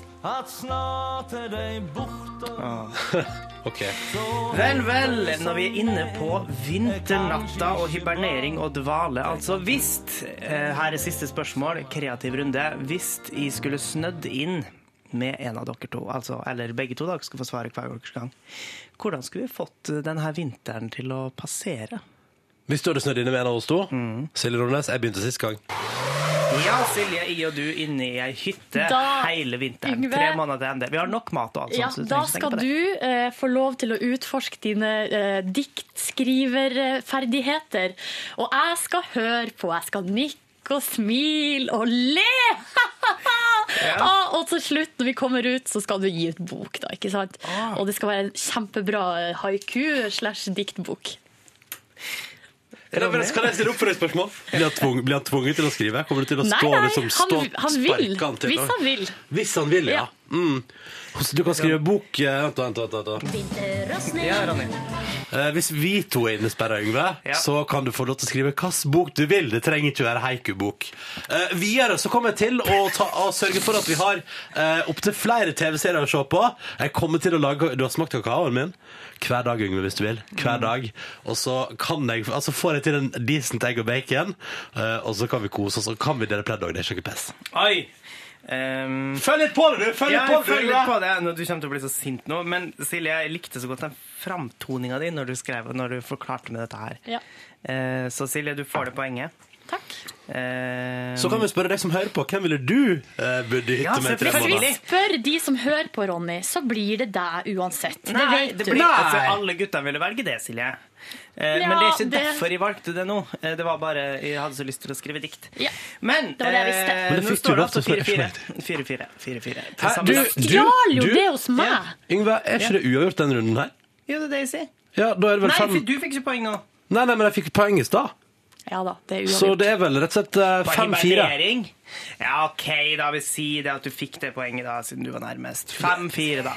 S2: Ok.
S3: Vel, vel, når vi er inne på vinternatta og hibernering og dvale, altså hvis eh, Her er siste spørsmål, kreativ runde. Hvis jeg skulle snødd inn med en av dere to, altså, eller begge to, dere skal få svare hver deres gang, hvordan skulle vi fått eh, denne vinteren til å passere?
S2: Hvis du hadde snødd inne med en av oss to, Silje Ronnes, jeg begynte sist gang.
S3: Ja, Silje, jeg og du inne i ei hytte
S4: Da,
S3: hele vinteren.
S4: Yngve-
S3: Tre måneder til ende. Vi har nok mat og alt
S4: Ja,
S3: sånt. så Sånn du
S4: da
S3: trenger ikke tenke
S4: skal
S3: på det.
S4: du eh, få lov til å utforske dine eh, diktskriverferdigheter. Og jeg skal høre på. Jeg skal nikke og smile og le! *laughs* Ah, og til slutt, når vi kommer ut, så skal du gi ut bok, da. ikke sant?
S3: Ah.
S4: Og det skal være en kjempebra eh, haiku slash diktbok.
S2: Kan jeg, bare- kan jeg stille opp for et spørsmål? Blir han, tvung, blir han tvunget til å skrive? Kommer du til å
S4: Nei,
S2: stå
S4: nei,
S2: liksom,
S4: han-
S2: stå,
S4: han vil.
S2: sparke han til?
S4: Hvis han vil.
S2: Hvis han vil, ja. Mm. Hos- Du kan skrive bok eh, Vent, vent, vent. vent, vent.
S3: Ja, Ronny.
S2: Eh, hvis vi to er innesperra, Yngve,
S3: Ja.
S2: så kan du få lov til å skrive hvilken bok du vil. Det trenger ikke være haiku-bok. Eh, videre så kommer jeg til å, ta, å sørge for at vi har eh, opptil flere TV-serier å se på. Jeg kommer til å lage Du har smakt kakaoen min? Hver dag, Yngve, hvis du vil.
S3: Mm.
S2: Hver dag. Og så kan jeg Altså får jeg til en decent egg og bacon, eh, og så kan vi kose oss. Og kan vi dele pledd òg. Det er ikke noe pess.
S3: Oi! Ehm,
S2: Følg litt på det, du! Følg
S3: Ja,
S2: litt
S3: jeg
S2: på det,
S3: føler
S2: Yngve!
S3: litt på det. Nå, Du kommer til å bli så sint nå. Men Silje, jeg likte så godt den framtoninga di når du skrev Når du forklarte med dette her.
S4: Ja.
S3: Eh, så Silje, du får det poenget.
S4: Takk.
S3: Eh,
S2: Så kan vi spørre deg som hører på, hvem ville du eh, burde hytte
S3: Ja,
S2: med i tre
S3: selvfølgelig.
S2: måneder?
S4: Hvis spør de som hører på, Ronny, så blir det deg uansett. Det
S3: Nei,
S4: vet
S3: det
S4: du.
S3: blir, altså, alle gutta ville velge det, Silje. Eh,
S4: Ja,
S3: men det er ikke
S4: det-
S3: derfor jeg valgte det nå. Eh, Det var bare Jeg hadde så lyst til å skrive dikt.
S4: Ja,
S3: men
S4: det var det jeg visste.
S3: eh,
S2: Men det
S3: nå
S2: fikk du
S3: står det
S2: lov til
S3: altså
S2: å spørre
S3: 4-4. 4-4. 4-4.
S2: Hæ,
S3: Til
S2: du-
S3: sammen.
S4: Du stjal jo
S2: du-
S4: det hos meg!
S3: Ja.
S2: Yngve, er ikke det uavgjort denne runden her?
S3: Jo, det er det jeg sier.
S2: Ja, da er det vel sånn-
S3: Nei,
S2: fem...
S3: for du fikk ikke poeng nå.
S2: Nei, nei, men jeg fikk poeng i stad.
S4: Ja da, det er
S2: Så
S4: uavgjort.
S2: det er vel rett og slett eh,
S3: På
S2: 5-4.
S3: hibernering? Ja, OK, da vil si det at du fikk det poenget, da, siden du var nærmest. 5-4, da.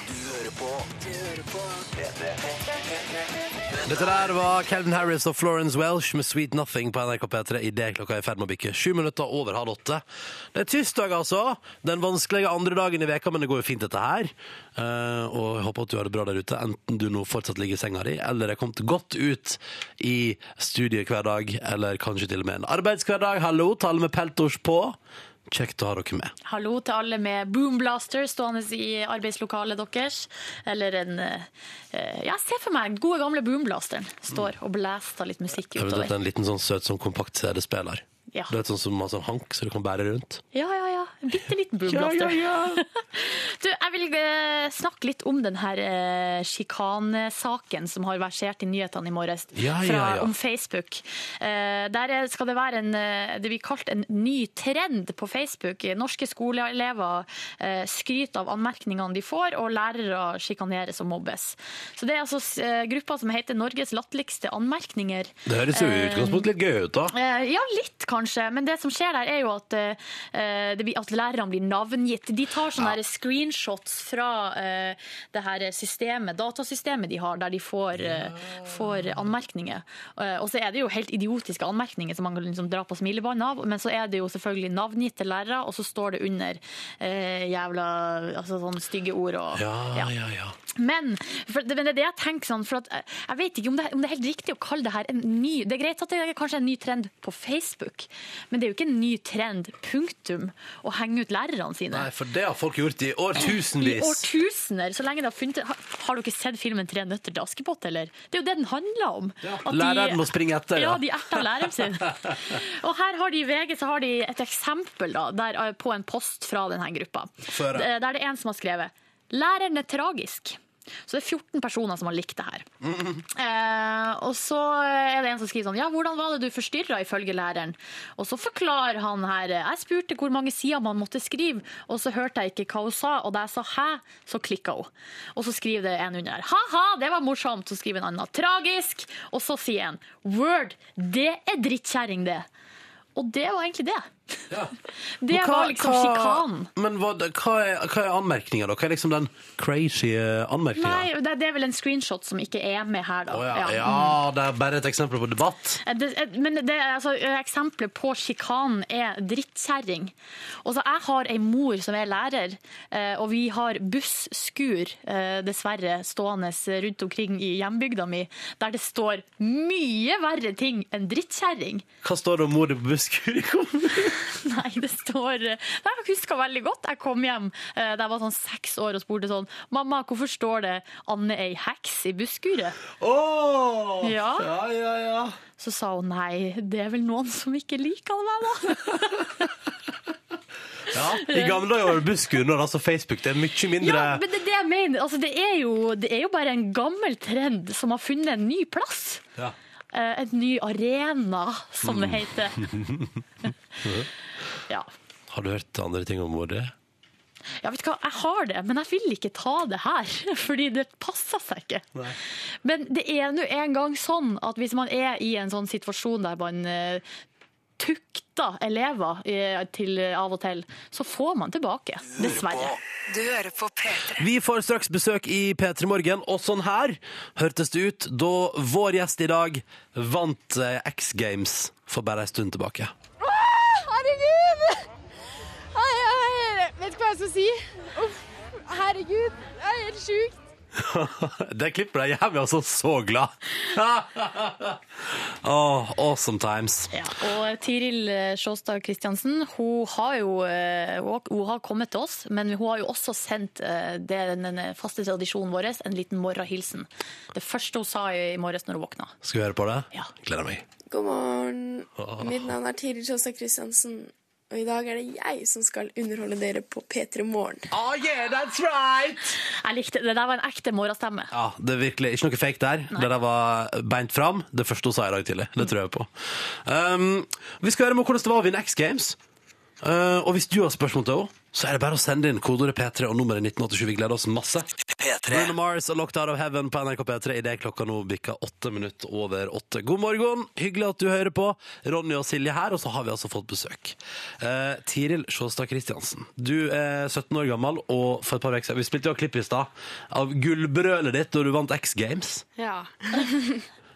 S2: Dette der var Calvin Harris og Florence Welsh med Sweet Nothing på NRK P3 idet klokka er i ferd med å bikke sju minutter over halv åtte. Det er tirsdag, altså. Den vanskelige andre dagen i veka, men det går jo fint, dette her. Eh, og jeg håper at du har det bra der ute, enten du nå fortsatt ligger i senga di, eller er kommet godt ut i studiet hver dag, eller kanskje til og med en arbeidshverdag. Hallo, tale med peltors på. Kjekt å ha dere med.
S4: Hallo til alle med boomblaster stående i arbeidslokalet deres. Eller en eh, Ja, se for meg den gode gamle boomblasteren står og blaster litt musikk
S2: Jeg vet at det
S4: utover.
S2: er en liten sånn søt sånn kompakt CD-spiller.
S4: Ja.
S2: Du vet sånn som har sånn hank, så du kan bære rundt.
S4: Ja, ja, ja. En bitte liten boomblaster. *laughs* Du, jeg vil eh, snakke litt om den her eh, sjikanesaken som har versert i nyhetene i morges
S2: Ja,
S4: fra,
S2: ja, ja.
S4: om Facebook. Eh, der er- skal det være en, eh, det blir kalt en ny trend på Facebook. Norske skoleelever eh, skryter av anmerkningene de får, og lærere sjikaneres og mobbes. Så det er altså eh, gruppa som heter Norges latterligste anmerkninger.
S2: Det høres jo i utgangspunktet litt gøy ut, da.
S4: Eh, Ja, litt kanskje, men det som skjer der er jo at, eh, eh, det blir, at lærerne blir navngitt. De tar sånne der screenshots fra eh, det her systemet, datasystemet de har, der de får, eh, får anmerkninger. Eh, og så er det jo helt idiotiske anmerkninger som man kan liksom dra på smilebånd av, men så er det jo selvfølgelig navngitte lærere, og så står det under eh, jævla altså sånne stygge ord og
S2: Ja, ja, ja.
S4: men, for, men det er det jeg tenker sånn, for at, jeg- jeg vet ikke om det, om det er helt riktig å kalle det her en ny Det er greit at det er kanskje en ny trend på Facebook, men det er jo ikke en ny trend, punktum, å henge ut lærerne sine.
S2: Nei, for det har folk gjort i
S4: I
S2: årtusenvis.
S4: årtusener, så lenge det har funnet Har, har dere sett filmen 'Tre nøtter til Askepott', eller? Det er jo det den handler om. At de-
S2: Læreren må springe etter, ja.
S4: Ja, de erter læreren sin.
S2: *laughs*
S4: Og her har de i VG så har de et eksempel da, der, eh, på en post fra denne gruppa. Eh,
S2: høre.
S4: Der det er en som har skrevet 'Læreren er tragisk'. Så det er 14 personer som har likt det *laughs* her. Eh, og så er det en som skriver sånn Ja, hvordan var det du forstyrra, ifølge læreren? Og så forklarer han her Jeg spurte hvor mange sider man måtte skrive, og så hørte jeg ikke hva hun sa, og da jeg sa hæ, så klikka hun. Og så skriver det en under her ha-ha, det var morsomt. Så skriver en annen tragisk. Og så sier en word, det er drittkjerring, det. Og det var egentlig det. *laughs* det
S2: Men hva-
S4: var liksom
S2: hva-
S4: sjikanen.
S2: Men hva, det- hva er, hva er anmerkninga, da? Hva er liksom den crazy eh, anmerkninga?
S4: Nei, det det er vel en screenshot som ikke er med her, da.
S2: Å ja.
S4: Ja.
S2: ja, det er bare et eksempel på debatt.
S4: Eh, Det, eh, men det, er altså, eh, eksempelet på sjikanen er drittkjerring. Og så jeg har ei mor som er lærer, eh, og vi har busskur, eh, dessverre, stående rundt omkring i hjembygda mi, der det står mye verre ting enn drittkjerring.
S2: Hva står det om mor di på busskur i kommunen?
S4: Nei, det står eh, Nei, Jeg husker veldig godt. Jeg kom hjem eh, da jeg var sånn seks år og spurte sånn Mamma, hvorfor står det 'Anne ei heks' i busskuret?
S2: Åh!
S4: Ja.
S2: ja, ja, ja.
S4: Så sa hun nei, det er vel noen som ikke liker meg, da.
S2: ja. I gamle dager var det busskur, nå er det altså Facebook. Det er mye mindre
S4: Ja, men det, er det, jeg mener, altså, det, er jo, det er jo bare en gammel trend som har funnet en ny plass.
S2: Ja.
S4: Eh, En ny arena, som det heter. *laughs* ja.
S2: Har du hørt andre ting om mor di?
S4: ja, vet du hva, jeg har det, men jeg vil ikke ta det her, *laughs* fordi det passer seg ikke. Men det er nå en gang sånn at hvis man er i en sånn situasjon der man eh, tukter elever eh, til av og til, så får man tilbake, dessverre.
S6: Du hører på P3.
S2: Vi får straks besøk i P3 Morgen, og sånn her hørtes det ut da vår gjest i dag vant eh, X Games for bare en stund tilbake.
S7: Herregud! Ai, ai, jeg vet ikke hva jeg skal si. Uff, herregud, det er helt sjukt.
S2: *laughs* Det klipper deg hjem, jeg er altså så glad. *laughs* Åh, awesome times.
S4: Ja, og Tiril eh, Sjåstad Kristiansen hun har jo eh, hun hun har kommet til oss, men hun har jo også sendt eh, det er den den faste tradisjonen vår, en liten morgenhilsen. Det første hun sa i morges når hun våkna.
S2: Skal vi høre på det?
S4: Ja.
S2: Gleder meg.
S8: God morgen. Mitt navn er Tiril Sjåstad Kristiansen. Og i dag er det jeg som skal underholde dere på P3 Morgen.
S2: Oh yeah, that's right!
S4: Jeg likte, Det der var en ekte morgenstemme.
S2: Ja, det er virkelig ikke noe fake der. Det der var beint fram. Det første hun sa i dag tidlig.
S4: Mm.
S2: Det tror jeg på. Um, vi skal høre med hvordan det var å vinne X Games. Uh, og hvis du har spørsmål til henne, så er det bare å sende inn kodeordet P3 og nummeret 1987. Vi gleder oss masse.
S6: P3.
S2: Bruno Mars og Locked Out of Heaven på NRK P3 idet klokka nå bikker åtte minutter over åtte. God morgen, hyggelig at du hører på. Ronny og Silje her, og så har vi altså fått besøk. Eh, Tiril Sjåstad Kristiansen, du er 17 år gammel, og for et par uker siden Vi spilte jo klipp i stad av gullbrølet ditt da du vant X Games.
S9: Ja.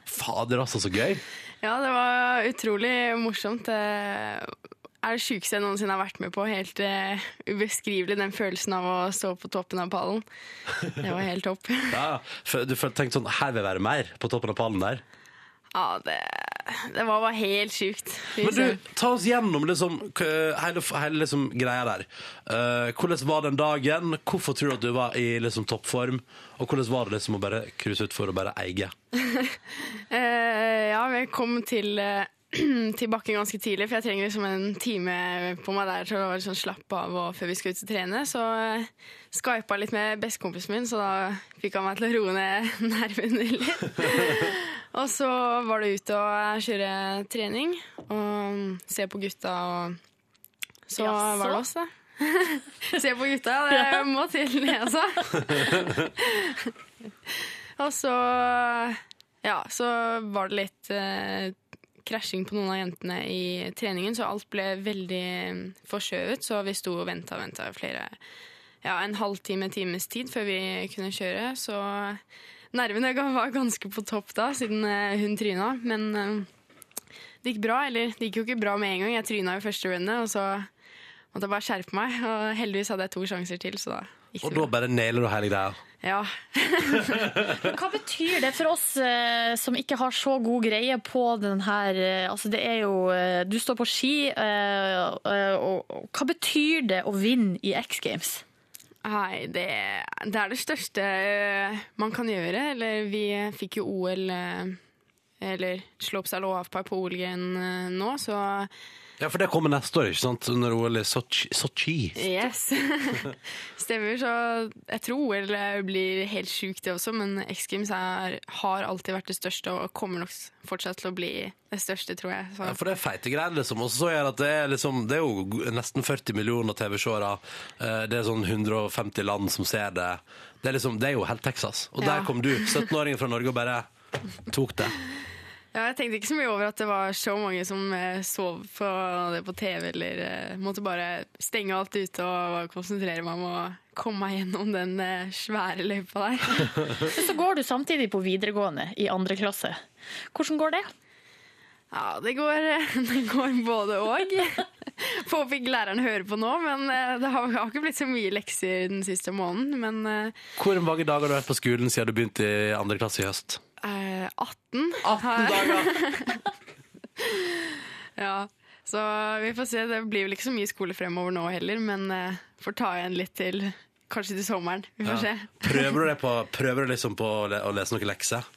S2: Fader, altså, så gøy.
S9: ja, det var utrolig morsomt. Det er det sjukeste jeg noensinne har vært med på. Helt eh, ubeskrivelig, den følelsen av å stå på toppen av pallen. Det var helt topp.
S2: Ja, for- du tenkte sånn Her vil jeg være mer, på toppen av pallen der.
S9: Ja, det, det var bare helt sjukt.
S2: Men du, ta oss gjennom liksom, k- hele, hele liksom, greia der. Eh, hvordan var den dagen? Hvorfor tror du at du var i liksom, toppform? Og hvordan var det liksom, å bare cruise utfor og bare eie?
S9: Eh, ja, jeg kom til, eh, *clears throat* til bakken ganske tidlig, for jeg trenger liksom en time på meg der til å liksom slappe av og før vi skal ut og trene. Så uh, skypa litt med bestekompisen min, så da fikk han meg til å roe ned *laughs* nervene litt. og så var det ut og eh, kjøre trening og se på gutta, og så
S4: Jaså?
S9: var det oss, da. *laughs* se på gutta, det må til, det, altså. *laughs* og så ja, så var det litt eh, krasjing på noen av jentene i treningen, så alt ble veldig eh, forskjøvet, så vi sto og venta og venta flere ja, en halvtime, times tid før vi kunne kjøre, så nervene ga- var ganske på topp da, siden eh, hun tryna, men eh, det gikk bra, eller det gikk jo ikke bra med en gang, jeg tryna jo første rundet, og så måtte jeg bare skjerpe meg, og heldigvis hadde jeg to sjanser til, så da gikk
S2: Og
S9: det
S2: da
S9: bra.
S2: bare nailer du hele greia.
S9: Ja,
S4: Hva betyr det for oss eh, som ikke har så god greie på den her eh, Altså, det er jo eh, Du står på ski, eh, eh, og og hva betyr det å vinne i X Games?
S9: Nei, det, det er det største eh, man kan gjøre. Eller vi fikk jo OL eh, Eller Slopstyle og avpar på OL-grenen eh, nå, så
S2: Ja, for det kommer neste år, ikke sant? Under OL i Sochi. Sochi.
S9: yes. *laughs* Stemmer. Så jeg tror OL øh, blir helt sjukt, det også. Men X Games er, har alltid vært det største og kommer nok fortsatt til å bli det største, tror jeg. Så.
S2: Ja, for det er feite greier, liksom. Og så gjør det at det er liksom Det er jo nesten 40 millioner TV-seere. Eh, Det er sånn 150 land som ser det. Det er liksom Det er jo helt Texas. Og
S9: Ja.
S2: der kom du, 17-åringen fra Norge, og bare tok det.
S9: Ja, jeg tenkte ikke så mye over at det var så mange som eh, sov på det på TV, eller eh, måtte bare stenge alt ute og bare konsentrere meg om å komme meg gjennom den eh, svære løypa der. *laughs*
S4: Men så går du samtidig på videregående i andre klasse. Hvordan går det?
S9: Ja, det går, eh, *laughs* det går både og. *laughs* Håper ikke læreren hører på nå, men eh, det har, har ikke blitt så mye lekser den siste måneden. Men eh,
S2: Hvor mange dager har du vært på skolen siden du begynte i andre klasse i høst?
S9: eh, 18
S2: 18 dager!
S9: *laughs* Ja, så vi får se. Det blir vel ikke så mye skole fremover nå heller, men eh, får ta igjen litt til kanskje til sommeren. Vi får se.
S2: Prøver du, det på, prøver du liksom på å le- å lese noen lekser?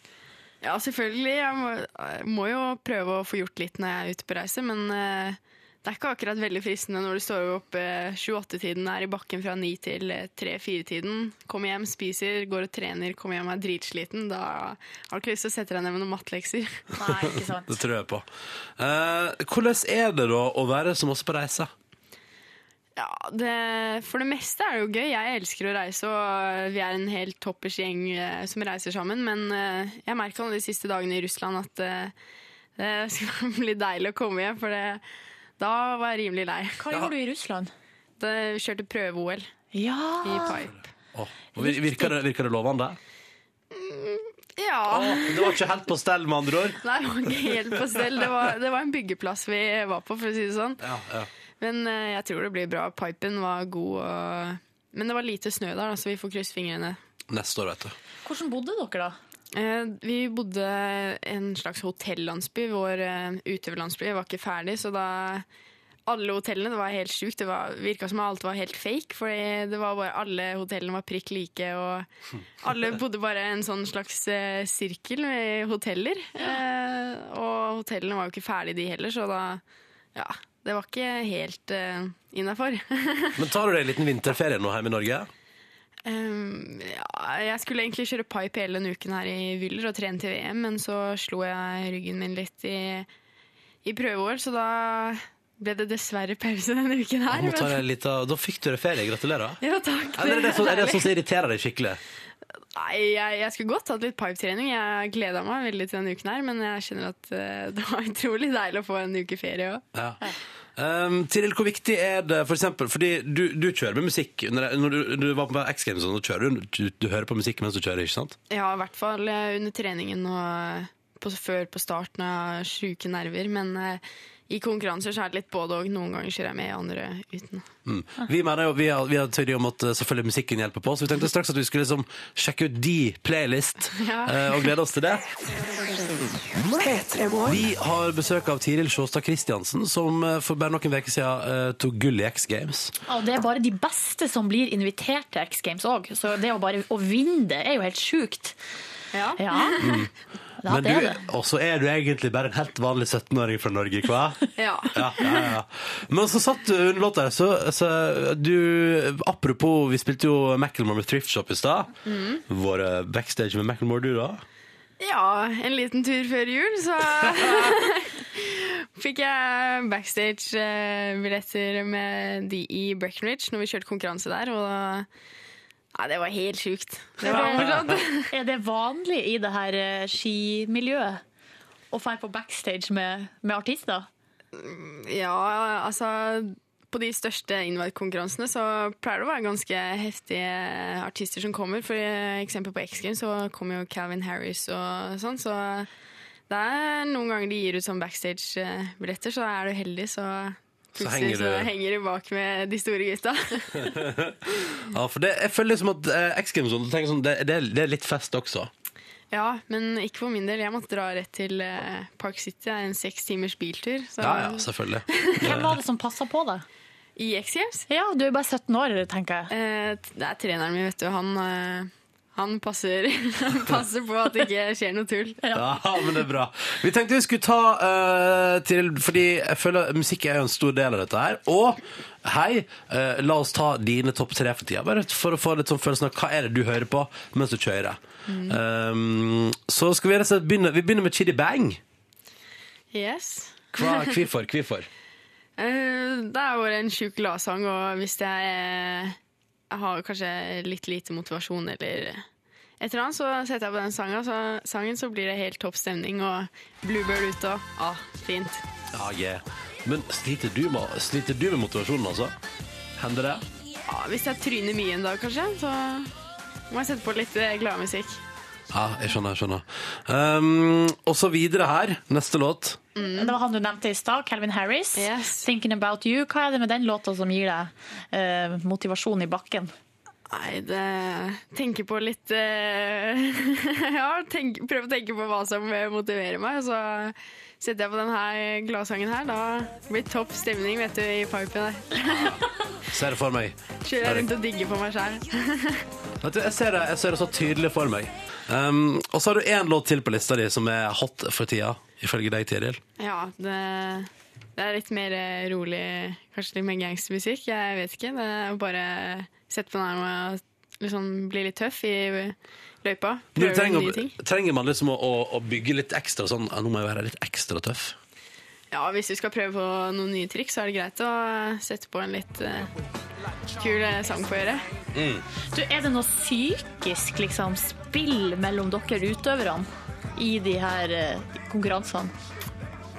S9: Ja, selvfølgelig. Jeg må, jeg må jo prøve å få gjort litt når jeg er ute på reise, men eh, det er ikke akkurat veldig fristende når du står opp eh, 7-8-tiden, er i bakken fra 9 til eh, 3-4-tiden, kommer hjem, spiser, går og trener, kommer hjem og er dritsliten. Da har du ikke lyst til å sette deg ned med noen mattelekser.
S4: Nei, ikke sant.
S2: Det tror jeg på. Eh, hvordan er det da å være så masse på reise?
S9: Ja, det, for det meste er det jo gøy. Jeg elsker å reise, og vi er en helt toppers gjeng eh, som reiser sammen. Men eh, jeg merka de siste dagene i Russland at eh, det *laughs* skal bli deilig å komme hjem, for det, da var jeg rimelig lei.
S4: Hva gjorde du i Russland?
S9: Da vi kjørte prøve-OL i
S4: Ja,
S9: pipe.
S2: Åh, vir- virker, det, virker det lovende?
S9: Ja.
S2: Åh, det var ikke helt på stell, med andre ord.
S9: Nei, det var ikke helt på stell. Det var, det var en byggeplass vi var på, for å si det sånn.
S2: Ja, ja.
S9: Men eh, jeg tror det blir bra. Pipen var god, og, men det var lite snø der, da, så vi får krysse fingrene.
S2: Neste år, vet du.
S4: hvordan bodde dere da?
S9: Eh, Vi bodde en slags hotellandsby. Vår eh, utøverlandsby var ikke ferdig, så da Alle hotellene, det var helt sjukt. Det var- virka som alt var helt fake, for det var bare alle hotellene var prikk like, og alle bodde bare i en sånn slags eh, sirkel med hoteller. Eh, Og hotellene var jo ikke ferdig, de heller, så da Ja. Det var ikke helt uh, innafor. *laughs*
S2: Men tar du deg en liten vinterferie nå hjemme i Norge?
S9: Um, ja, jeg skulle egentlig kjøre pipe hele denne uken her i Wyller og trene til VM, men så slo jeg ryggen min litt i, i prøveår, så da ble det dessverre pause denne
S2: Jeg
S9: uken her.
S2: må ta
S9: Men,
S2: deg litt av... Da fikk du deg ferie, gratulerer.
S9: *laughs* ja, takk.
S2: Eller er det
S9: det-
S2: sånn, er det sånn som irriterer deg skikkelig?
S9: Nei, jeg, jeg skulle godt hatt litt pipetrening. Jeg gleda meg veldig til denne uken her, men jeg kjenner at eh, det var *laughs* utrolig deilig å få en uke ferie òg.
S2: Ja. Um, Tiril, hvor viktig er det for eksempel, fordi du, du kjører med musikk når, når du, du var på X Games, og sånn, så kjører du, du, du hører på musikk mens du kjører, ikke sant?
S9: Ja, i hvert fall eh, under treningen og eh, på, før på starten av sjuke nerver. Men eh, i konkurranser så er det litt både og. Noen ganger kjører jeg med, andre uten.
S2: Mm. Vi mener jo, vi har, vi har teori om at eh, selvfølgelig musikken hjelper på, så vi tenkte straks at vi skulle liksom sjekke ut de
S4: *laughs*
S2: playlist
S9: Ja.
S2: eh, og glede oss til det. Vi har besøk av Tiril Sjåstad Kristiansen, som eh, for bare noen veker siden eh, tok gull i X Games.
S4: Og det er bare de beste som blir invitert til X Games òg, så det å bare å vinne det er jo helt sjukt.
S9: Ja.
S4: Ja, ja
S2: Mm. Men
S4: det er
S2: du,
S4: det.
S2: og så er du egentlig bare en helt vanlig 17-åring fra Norge, hva?
S9: Ja.
S2: Ja, ja, ja. Men så satt du under låta her, så, så du Apropos, vi spilte jo Macklemore med Thrift Shop i stad. Våre backstage med Macklemore, du, da?
S9: Ja, en liten tur før jul, så fikk jeg backstage-billetter med de i Breckenridge når vi kjørte konkurranse der. Og Nei, det var helt sjukt. Det var morsomt.
S4: Er det vanlig i det her eh, skimiljøet å dra på backstage med, med artister?
S9: Ja, altså På de største innvandrerkonkurransene så pleier det å være ganske heftige artister som kommer. For eksempel på X Games så kommer jo Calvin Harris og sånn, så det er noen ganger de gir ut sånn backstage-billetter, så er du heldig, så
S2: Så
S9: plutselig
S2: henger
S9: så
S2: du-
S9: henger du bak med de store gutta.
S2: *laughs* Ja, for det, jeg føler liksom at eh, X Games du tenker sånn, det, det, er- det er litt fest også.
S9: ja, men ikke for min del. Jeg måtte dra rett til eh, Park City. Det er en seks timers biltur. Så
S2: Ja, ja, selvfølgelig.
S4: Hvem var det som passa på deg?
S9: i X Games
S4: Ja, du er bare 17 år, tenker jeg.
S9: Eh, Det er treneren min, vet du. Han, eh, han passer, *laughs* han passer på at det ikke skjer noe tull.
S2: *laughs* Ja, men det er bra. Vi tenkte vi skulle ta eh, til Fordi jeg føler musikk er jo en stor del av dette her. Og hei, eh, la oss ta dine topp tre for tida. Bare for å få litt sånn følelsen av hva er det du hører på mens du kjører. Um, så skal vi rett og slett begynne Vi begynner med Chidi Bang.
S9: Yes.
S2: Hva, hvorfor? Hvorfor?
S9: Eh, Det er jo bare en sjuk gladsang, og hvis jeg eh, har kanskje litt lite motivasjon eller et eller annet, så setter jeg på den sangen, så, sangen, så blir det helt topp stemning, og Bluebird ute og ah, fint.
S2: *laughs* Ja, yeah. Men sliter du, med, sliter du med motivasjonen, altså? Hender det?
S9: Ja, Ah, hvis jeg tryner mye en dag, kanskje, så må jeg sette på litt eh, gladmusikk.
S2: Ja, jeg skjønner. jeg skjønner um, Og så videre her. Neste låt.
S4: Det var han du nevnte i stad, Calvin Harris.
S9: Yes.
S4: 'Thinking About You'. Hva er det med den låta som gir deg eh, motivasjon i bakken?
S9: Nei, det Tenke på litt eh, *laughs* Ja, tenk, prøve å tenke på hva som eh, motiverer meg. og Så setter jeg på denne gladsangen her. Da blir det topp stemning vet du, i pipen der.
S2: Ser det for meg.
S9: Kjører jeg rundt og digger på meg sjæl.
S2: Vet du, jeg ser, det, jeg ser det så tydelig for meg. Um, og så har du én låt til på lista di som er hot for tida, ifølge deg, Tiril.
S9: *laughs* Ja, det, det er litt mer eh, rolig, kanskje litt mer gangstermusikk. Jeg vet ikke. Det er bare sette på den her og liksom bli litt tøff i løypa.
S2: Du
S9: Prøve nye
S2: trenger,
S9: ting.
S2: trenger man liksom å, å, å bygge litt ekstra sånn ja, Nå må jeg være litt ekstra tøff.
S9: Ja, hvis du skal prøve på noen nye triks, så er det greit å sette på en litt eh, kul eh, sang på øret.
S4: Du, er det noe psykisk liksom, spill mellom dere utøverne i de her eh, konkurransene?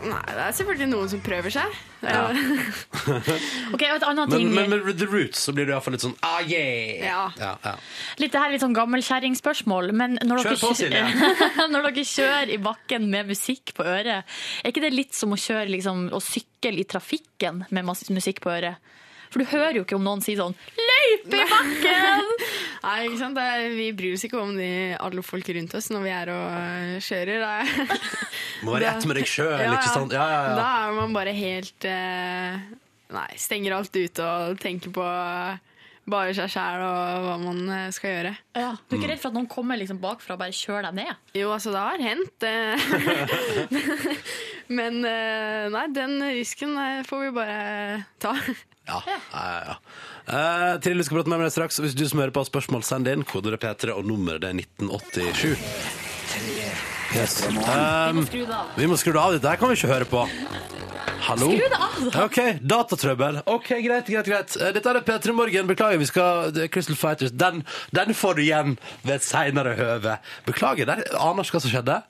S9: Nei, det er selvfølgelig noen som prøver seg. Det er jo- *laughs*
S4: Ok, og et annet
S2: Men,
S4: ting
S2: men med The Roots så blir du iallfall litt sånn ah, yeah!
S9: Ja.
S2: Ja, ja.
S4: Litt det her er litt sånn gammelkjerringspørsmål. Men når
S2: Kjør
S4: dere,
S2: på, Silje.
S4: *laughs* når dere kjører i bakken med musikk på øret, er ikke det litt som å kjøre liksom, og sykle i trafikken med masse musikk på øret? For du hører jo ikke om noen sier sånn 'løype i
S2: *laughs*
S4: bakken'!
S9: Nei, ikke sant? Det er, vi bryr oss ikke om de, alle folk rundt oss når vi er og eh, kjører. Det er,
S2: *laughs* Må være i ett med deg sjøl,
S9: Ja,
S2: ikke
S9: ja.
S2: sant? sånn, Ja, ja, ja.
S9: Da er man bare helt eh, Nei, stenger alt ut og tenker på bare seg sjæl og hva man eh, skal gjøre.
S4: Ja, du er ikke redd for at noen kommer liksom bakfra og bare kjører deg ned?
S9: Jo, altså, det har hendt. eh. *laughs* Men eh, nei, den risken eh, får vi bare ta.
S2: Ja, ja, ja, ja. Eh, Tiril, du skal prate mer med deg straks. Og hvis du som hører på har spørsmål, send det inn. Kodet er P3, og nummeret det er 1987. Yes. Um,
S4: Skru deg av.
S2: Eh, Vi må skru det av, dette her kan vi ikke høre på. Hallo?
S4: Skru det av, da.
S2: OK, datatrøbbel. OK, greit, greit, greit. Eh, Dette er P3 Morgen. Beklager, vi skal det er Crystal Fighters. Den, den får du igjen ved et seinere høve. Beklager, der aner ikke hva som skjedde.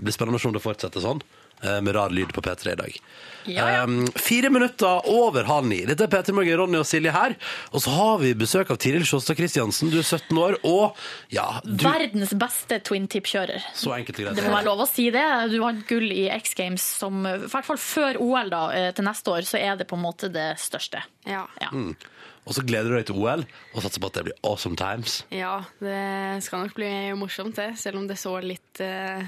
S2: Det blir spennende å se om det fortsetter sånn. eh, Med rar lyd på P3 i dag.
S4: Ja, ja.
S2: Um, fire minutter over halv ni. Dette er P3 Morgen, Ronny og Silje her. Og så har vi besøk av Tiril Sjåstad Christiansen. Du er 17 år, og ja, du
S4: Verdens beste twin tip-kjører.
S2: Så enkelt og greit.
S4: Det må være lov å si det. Du vant gull i X Games, som i hvert fall før OL da, eh, til neste år, så er det på en måte det største.
S9: Ja.
S4: Ja.
S2: Og så gleder du deg til OL, og satser på at det blir awesome times.
S9: ja, det skal nok bli morsomt, det. Selv om det så litt eh,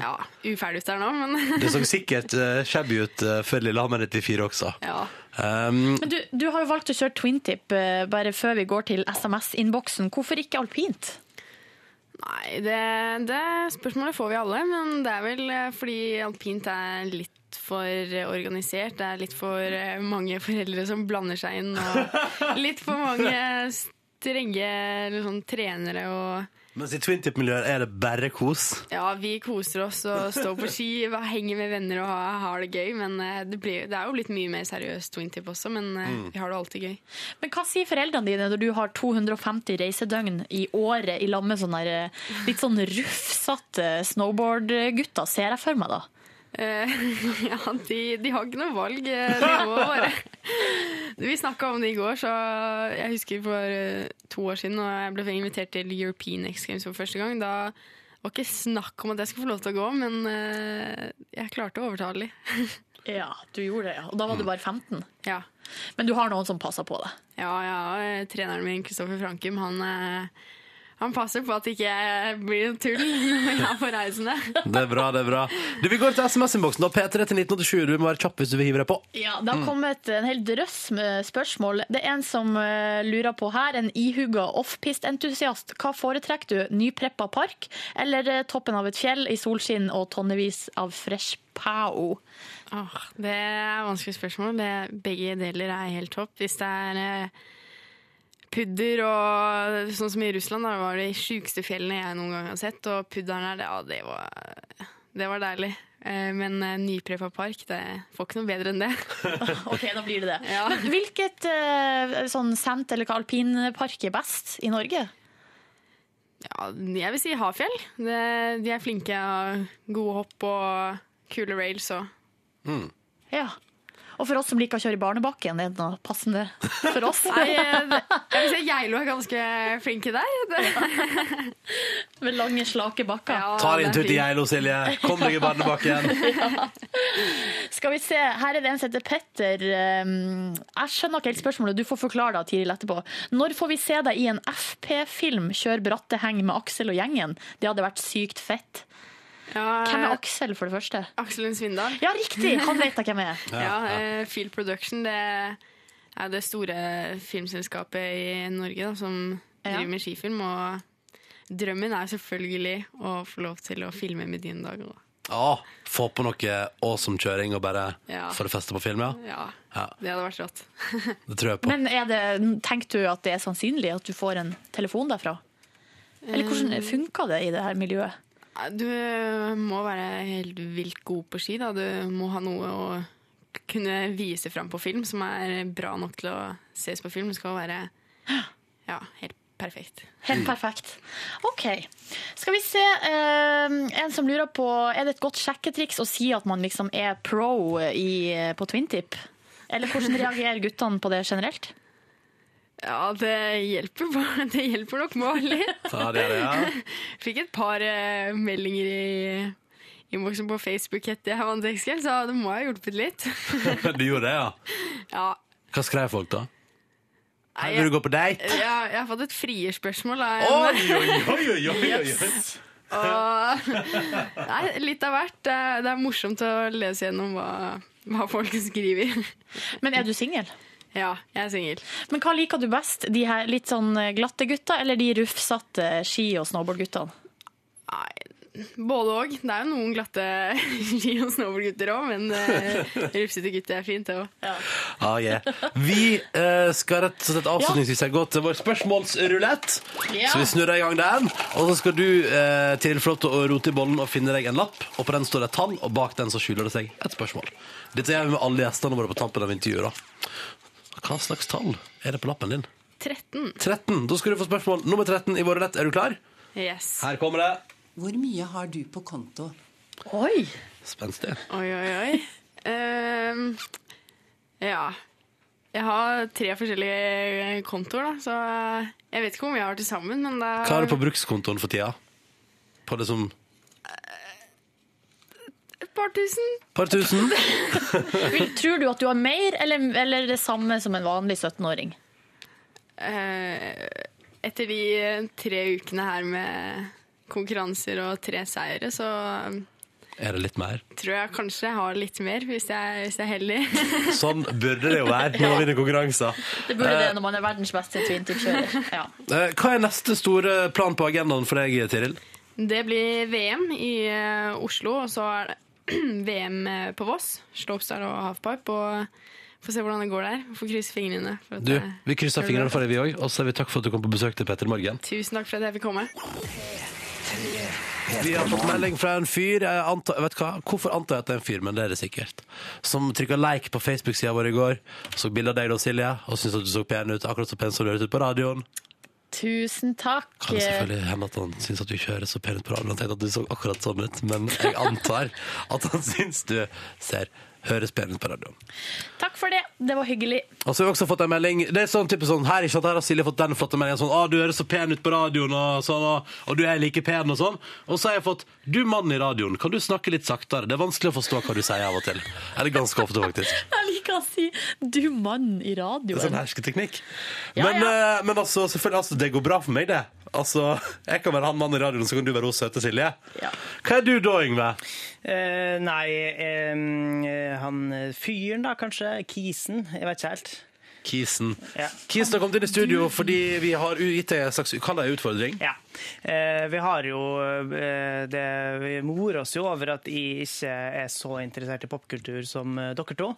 S9: ja, uferdig ut der nå, men *laughs*
S2: Det så sikkert eh, shabby ut eh, før Lillehammer 94 også.
S9: ja.
S2: Um,
S4: Men du, du har jo valgt å kjøre twin tip eh, bare før vi går til SMS-innboksen. Hvorfor ikke alpint?
S9: Nei, det, det spørsmålet får vi alle, men det er vel eh, fordi alpint er litt for organisert, det er litt for eh, mange foreldre som blander seg inn, og litt for mange *laughs* strenge eller sånn, trenere og
S2: mens i twintip-miljøet er det bare kos.
S9: Ja, vi koser oss og står på ski, *laughs* henger med venner og har, har det gøy, men eh, det, blir, det er jo blitt mye mer seriøst twintip også, men eh, vi har det alltid gøy.
S4: Men hva sier foreldrene dine når du har 250 reisedøgn i året i lag med sånne der, eh, litt sånn rufsete snowboardgutter, ser jeg for meg da?
S9: Eh, *laughs* ja, de, de har ikke noe valg. eh, De må bare *laughs* Vi snakka om det i går, så jeg husker for eh, to år siden da jeg ble invitert til European X Games for første gang. Da var ikke snakk om at jeg skulle få lov til å gå, men eh, jeg klarte å overtale de. *laughs*
S4: Ja, du gjorde det, ja. Og da var du bare 15.
S9: ja.
S4: Men du har noen som passer på deg.
S9: ja, ja. og, eh, Treneren min, Kristoffer Frankum, han eh, han passer på at det ikke blir noe tull *laughs* når jeg er på reisene.
S2: Det er bra, det er bra. Du, Vi går til SMS-innboksen. da. P3 til 1987. Du må være kjapp hvis du vil hive deg på.
S4: Ja, Det har kommet en hel drøss med spørsmål. Det er en som eh, lurer på her, en ihuga offpist-entusiast. Hva foretrekker du, nypreppa park eller eh, toppen av et fjell i solskinn og tonnevis av fresh pao?
S9: Åh, det er vanskelige spørsmål. Det, begge deler er helt topp. Hvis det er eh, pudder og sånn som i Russland, da var det de sjukeste fjellene jeg noen gang har sett. Og pudderen her, det, ja, det, var, det var deilig. Eh, Men eh, nypreppa park, det får ikke noe bedre enn det.
S4: Ok, da blir *laughs* det det.
S9: Ja.
S4: Men hvilket eh, sånn sent eller hva alpinpark er best i Norge?
S9: Ja, jeg vil si Hafjell. Det, de er flinke og gode hopp og kule rails og
S4: Ja. Og for oss som liker å kjøre i barnebakken, er det noe passende for oss?
S9: Nei, eh, det- jeg vil si Geilo er ganske flinke der. Det,
S4: Med lange, slake bakker.
S9: ja,
S2: Ta deg
S9: det er
S2: en tur til
S9: fint.
S2: Geilo, Silje. Kom deg i
S9: *laughs*
S2: barnebakken.
S4: Skal vi se, her er det en som heter Petter. Um, Jeg skjønner ikke helt spørsmålet, du får forklare det Tiril etterpå. Når får vi se deg i en FP-film kjør bratte heng med Aksel og gjengen? Det hadde vært sykt fett.
S9: Ja,
S4: Hvem er Aksel, for det første?
S9: Aksel Lund Svindal.
S4: Ja, riktig! Han vet jeg hvem er.
S9: Ja, eh, Field Production det er det store filmselskapet i Norge da, som
S4: Ja.
S9: driver med skifilm. Og drømmen er selvfølgelig å få lov til å filme med dine dager. Da.
S2: Å, få på noe awesome kjøring og bare
S9: Ja.
S2: få det feste på film, ja.
S9: Ja,
S2: Ja.
S9: Det hadde vært rått.
S2: Det tror jeg på.
S4: Men er det, tenker du at det er sannsynlig at du får en telefon derfra? Eller hvordan funker det i det her miljøet?
S9: Nei, Du eh, må være helt vilt god på ski. Da. Du må ha noe å kunne vise fram på film som er bra nok til å ses på film. Det skal være ja, helt perfekt.
S2: Mm.
S4: Helt perfekt. OK. Skal vi se. eh, en som lurer på Er det et godt sjekketriks å si at man liksom er pro i, eh, på twintip? Eller hvordan reagerer guttene på det generelt?
S9: Ja, det hjelper, bare- det hjelper nok med å ha litt.
S2: Ja, det er det, ja. *laughs*
S9: Fikk et par eh, meldinger i innboksen på Facebook etter jeg vant X-Games, så det må ha hjulpet litt.
S2: Du gjorde det, ja.
S9: ja.
S2: Hva skrev folk, da?
S9: Nei,
S2: Vil
S9: jeg,
S2: du gå på date?
S9: jeg, jeg har fått et frierspørsmål. da.
S2: Oi, oi, oi, oi, oi,
S9: *laughs*
S2: oi.
S9: Og, nei, litt av hvert. Det er, det er morsomt å lese gjennom hva, hva folk skriver.
S4: Men er du singel?
S9: ja, jeg er singel.
S4: Men hva liker du best? De her eh, litt sånn glatte gutta, eller de rufsete ski- og snowboardguttene?
S9: Nei, Både òg. Det er jo noen glatte *laughs* ski- og snowboardgutter òg, men uh, rufsete gutter er fint, det òg.
S2: Ah, yeah. Vi eh, skal rett og slett avslutningsvis gå til vår spørsmålsrulett.
S9: Ja.
S2: Så vi snurrer i gang den. Og så skal du eh, til flott å rote i bollen og finne deg en lapp. Og på den står det et tall, og bak den så skjuler det seg et spørsmål. Dette gjør vi med alle gjestene våre på tampen av intervjuet. Da. Hva slags tall er det på lappen din?
S9: 13.
S2: 13. Da skal du få spørsmål nummer 13 i vår rulett. Er du klar?
S9: Yes.
S2: Her kommer det.
S10: Hvor mye har du på konto?
S4: Oi!
S2: Spenstig.
S9: Oi, oi, oi. Ehm, ja. Jeg har tre forskjellige kontoer, da, så eh, jeg vet ikke hvor mye jeg har til sammen, men det
S2: Hva er det på brukskontoen for tida? På det som
S9: et par tusen.
S2: par tusen?
S4: Vil- Tror du at du har mer eller, eller det samme som en vanlig 17-åring?
S9: Eh, etter de eh, tre ukene her med konkurranser og tre seire, så eh,
S2: Er det litt mer?
S9: tror jeg kanskje jeg har litt mer, hvis jeg, hvis jeg er heldig. *laughs*
S2: Sånn burde det jo være når man vinner konkurranser.
S4: Det burde det når man er verdens beste twintip-kjører. Ja.
S2: Eh, Hva er neste store plan på agendaen for deg, Tiril?
S9: Det blir VM i eh, Oslo, og så er det *clears throat* VM på Voss. Slopestyle og halfpipe. Og får se hvordan det går der. Får krysse fingrene. For at
S2: Du,
S9: jeg-
S2: Vi krysser fingrene for deg, vi òg. Og så sier vi takk for at du kom på besøk til Petter Morgen.
S9: Tusen takk for at jeg fikk komme.
S2: Vi har fått melding fra en fyr jeg antar, vet hva, Hvorfor antar jeg at det er en fyr, men det er det sikkert. Som trykka like på Facebook-sida vår i går. Så bilde av deg da, Silje, og syntes at du så pen ut. Akkurat så pen som du høres ut på radioen.
S4: Tusen takk.
S2: Kan det selvfølgelig hende at han syns at du ikke høres så pen ut på radioen. Han tenkte at du så akkurat sånn ut, men jeg antar at han *laughs* syns du ser høres pen ut på radioen.
S4: Takk for det. Det var hyggelig.
S2: Og så Altså, har vi også fått en melding Det er sånn type sånn Her, ikke sant, her har Silje fått den flotte meldingen Sånn, ah, du høres så pen ut på radioen Og, sånn, og, og du er like pen og sånn Og så har jeg fått Du mannen i radioen, kan du snakke litt saktere? Det er vanskelig å forstå hva du sier av og til Eller ganske ofte faktisk
S4: Jeg liker å si 'du mann' i
S2: Det er sånn
S4: radioen.
S2: hersketeknikk
S4: Ja,
S2: men,
S4: ja.
S2: eh, men altså, selvfølgelig altså, Det går bra for meg det Altså, jeg kan være han mannen i radioen Så kan du være hos søte Silje
S4: Ja.
S2: Hva er du da, Yngve?
S3: Eh, nei, eh, han eh, fyren da, kanskje? Kisen? Jeg vet ikke helt.
S2: Kisen
S3: Ja.
S2: Kisen har kommet inn i studio Fordi vi har u- gitt deg en slags Kall det en utfordring
S3: Ja. Eh, vi har jo eh, det, Vi morer oss jo over at jeg ikke er så interessert i popkultur som eh, dere to.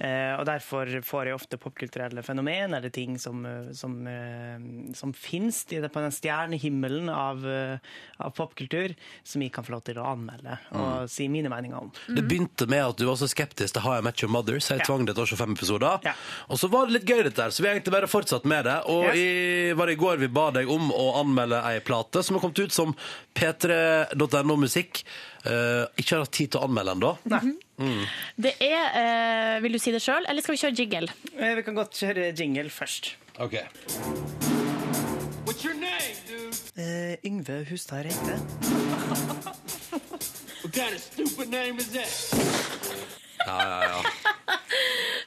S3: eh, og derfor får jeg ofte popkulturelle fenomen eller ting som, eh, som, eh, som fins i det- på den stjernehimmelen av, eh, av popkultur, som jeg kan få lov til å anmelde og si mine meninger om.
S2: Det begynte med at du var så skeptisk til How I Met Your Mother, så jeg
S3: Mm. Ja.
S2: tvang deg til å se fem episoder.
S3: Ja.
S2: Og så var det litt gøy dette her, så vi har egentlig bare fortsatt med det. Og
S3: Ja.
S2: i, var det i går vi ba deg om å anmelde ei plate som har kommet ut som p3.no musikk. Eh, ikke har hatt tid til å anmelde ennå.
S4: Det er eh, Vil du si det sjøl, eller skal vi kjøre jiggle?
S3: Eh, vi kan godt kjøre jingle først.
S2: Okay.
S3: Eh, Yngve Hustad Reite.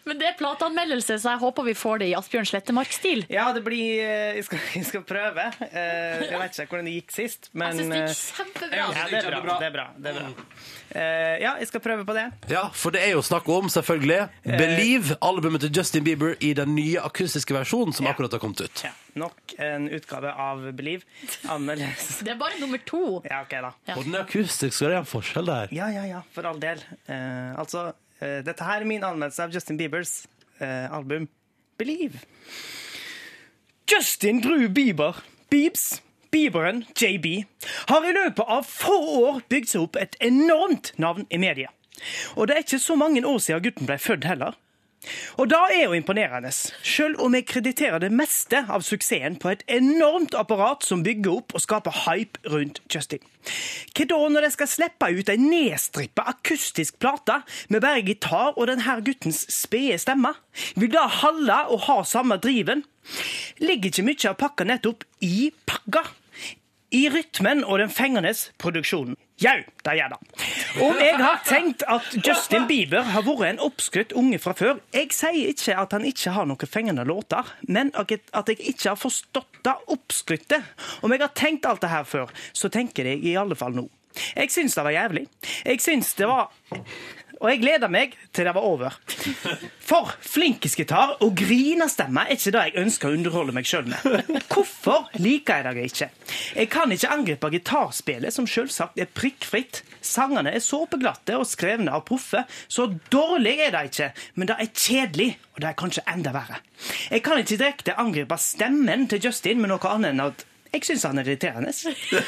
S4: Men det er plateanmeldelse, så jeg håper vi får det i Asbjørn Slettemark-stil.
S3: Ja, det blir eh, Jeg skal, *laughs* jeg skal prøve. Eh, Jeg vet ikke hvordan det gikk sist, men
S4: Jeg syns det
S3: eh,
S4: gikk kjempebra.
S3: ja, det er bra. Det er bra, det er bra. Eh, ja, jeg skal prøve på det.
S2: Ja, for det er jo snakk om, selvfølgelig,
S3: Eh.
S2: Believe, albumet til Justin Bieber i den nye akustiske versjonen som
S3: Ja.
S2: akkurat har kommet ut.
S3: Ja, nok en utgave av Believe. *laughs* Anmeldes.
S4: Det er bare nummer to.
S3: Ja, OK, da.
S2: Og den er akustisk, så det er en forskjell der.
S3: Ja, ja, ja, for all del. Eh, altså, eh, dette her er min anmeldelse av Justin Biebers eh, album Believe. Justin Drew Bieber, Biebs, Bieberen, JB, har i løpet av få år bygd seg opp et enormt navn i media. Og det er ikke så mange år siden gutten ble født heller. Og da er jo imponerende, sjøl om jeg krediterer det meste av suksessen på et enormt apparat som bygger opp og skaper hype rundt Justin. Hva da når de skal slippe ut ei nedstrippa akustisk plate med bare gitar og den her guttens spede stemme? Vil da holde og ha samme driven? Ligger ikke mye av pakka nettopp i pakka? I rytmen og den fengende produksjonen. Jau, det gjør det. Om jeg har tenkt at Justin Bieber har vært en oppskrytt unge fra før Jeg sier ikke at han ikke har noen fengende låter, men at jeg- at jeg ikke har forstått det oppskrytte. Om jeg har tenkt alt det her før, så tenker jeg i alle fall nå. Jeg syns det var jævlig. Jeg syns det var Og jeg gleda meg til det var over. For flinkisgitar og grinestemme er ikke det jeg ønsker å underholde meg sjøl med. Hvorfor liker jeg det ikke? Jeg kan ikke angripe gitarspillet, som selvsagt er prikkfritt. Sangene er såpeglatte og skrevne av proffe, så dårlig er det ikke. Men det er kjedelig, og det er kanskje enda verre. Jeg kan ikke direkte angripe stemmen til Justin med noe annet enn at jeg syns han er irriterende.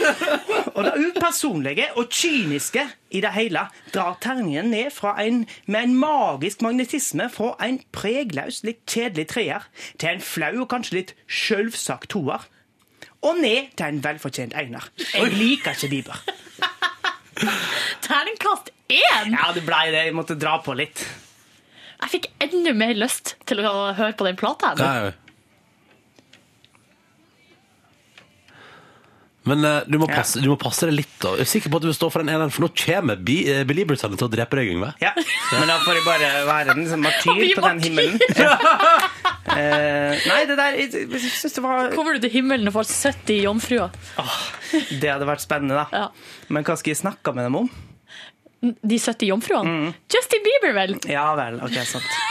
S3: Og det upersonlige og kyniske i det hele drar terningen ned fra en, med en magisk magnetisme fra en pregløs, litt kjedelig treer til en flau og kanskje litt sjølvsagt toer. Og ned til en velfortjent einer. Jeg liker ikke Bieber.
S4: Terningkast én!
S3: Ja, det blei det. Jeg måtte dra på litt.
S4: Jeg fikk enda mer lyst til å høre på den plata.
S2: Ja, ja. Men eh, du, må passe, du må passe deg litt, da. Jeg er sikker på at du vil stå for den ene, for nå kommer Be eh, Beliebers-ene til å drepe deg, Yngve.
S3: Ja. Men da får jeg bare være en sånn martyr
S4: blir
S3: på den himmelen. *laughs* Eh, nei, det der Jeg, jeg syns det var
S4: Kommer du til himmelen og får 70 jomfruer?
S3: Det hadde vært spennende, da.
S4: Ja.
S3: Men hva skal jeg snakke med dem om?
S4: De 70 jomfruene?
S3: Mm.
S4: Justin Bieber, vel?
S3: Ja vel, ok, sant.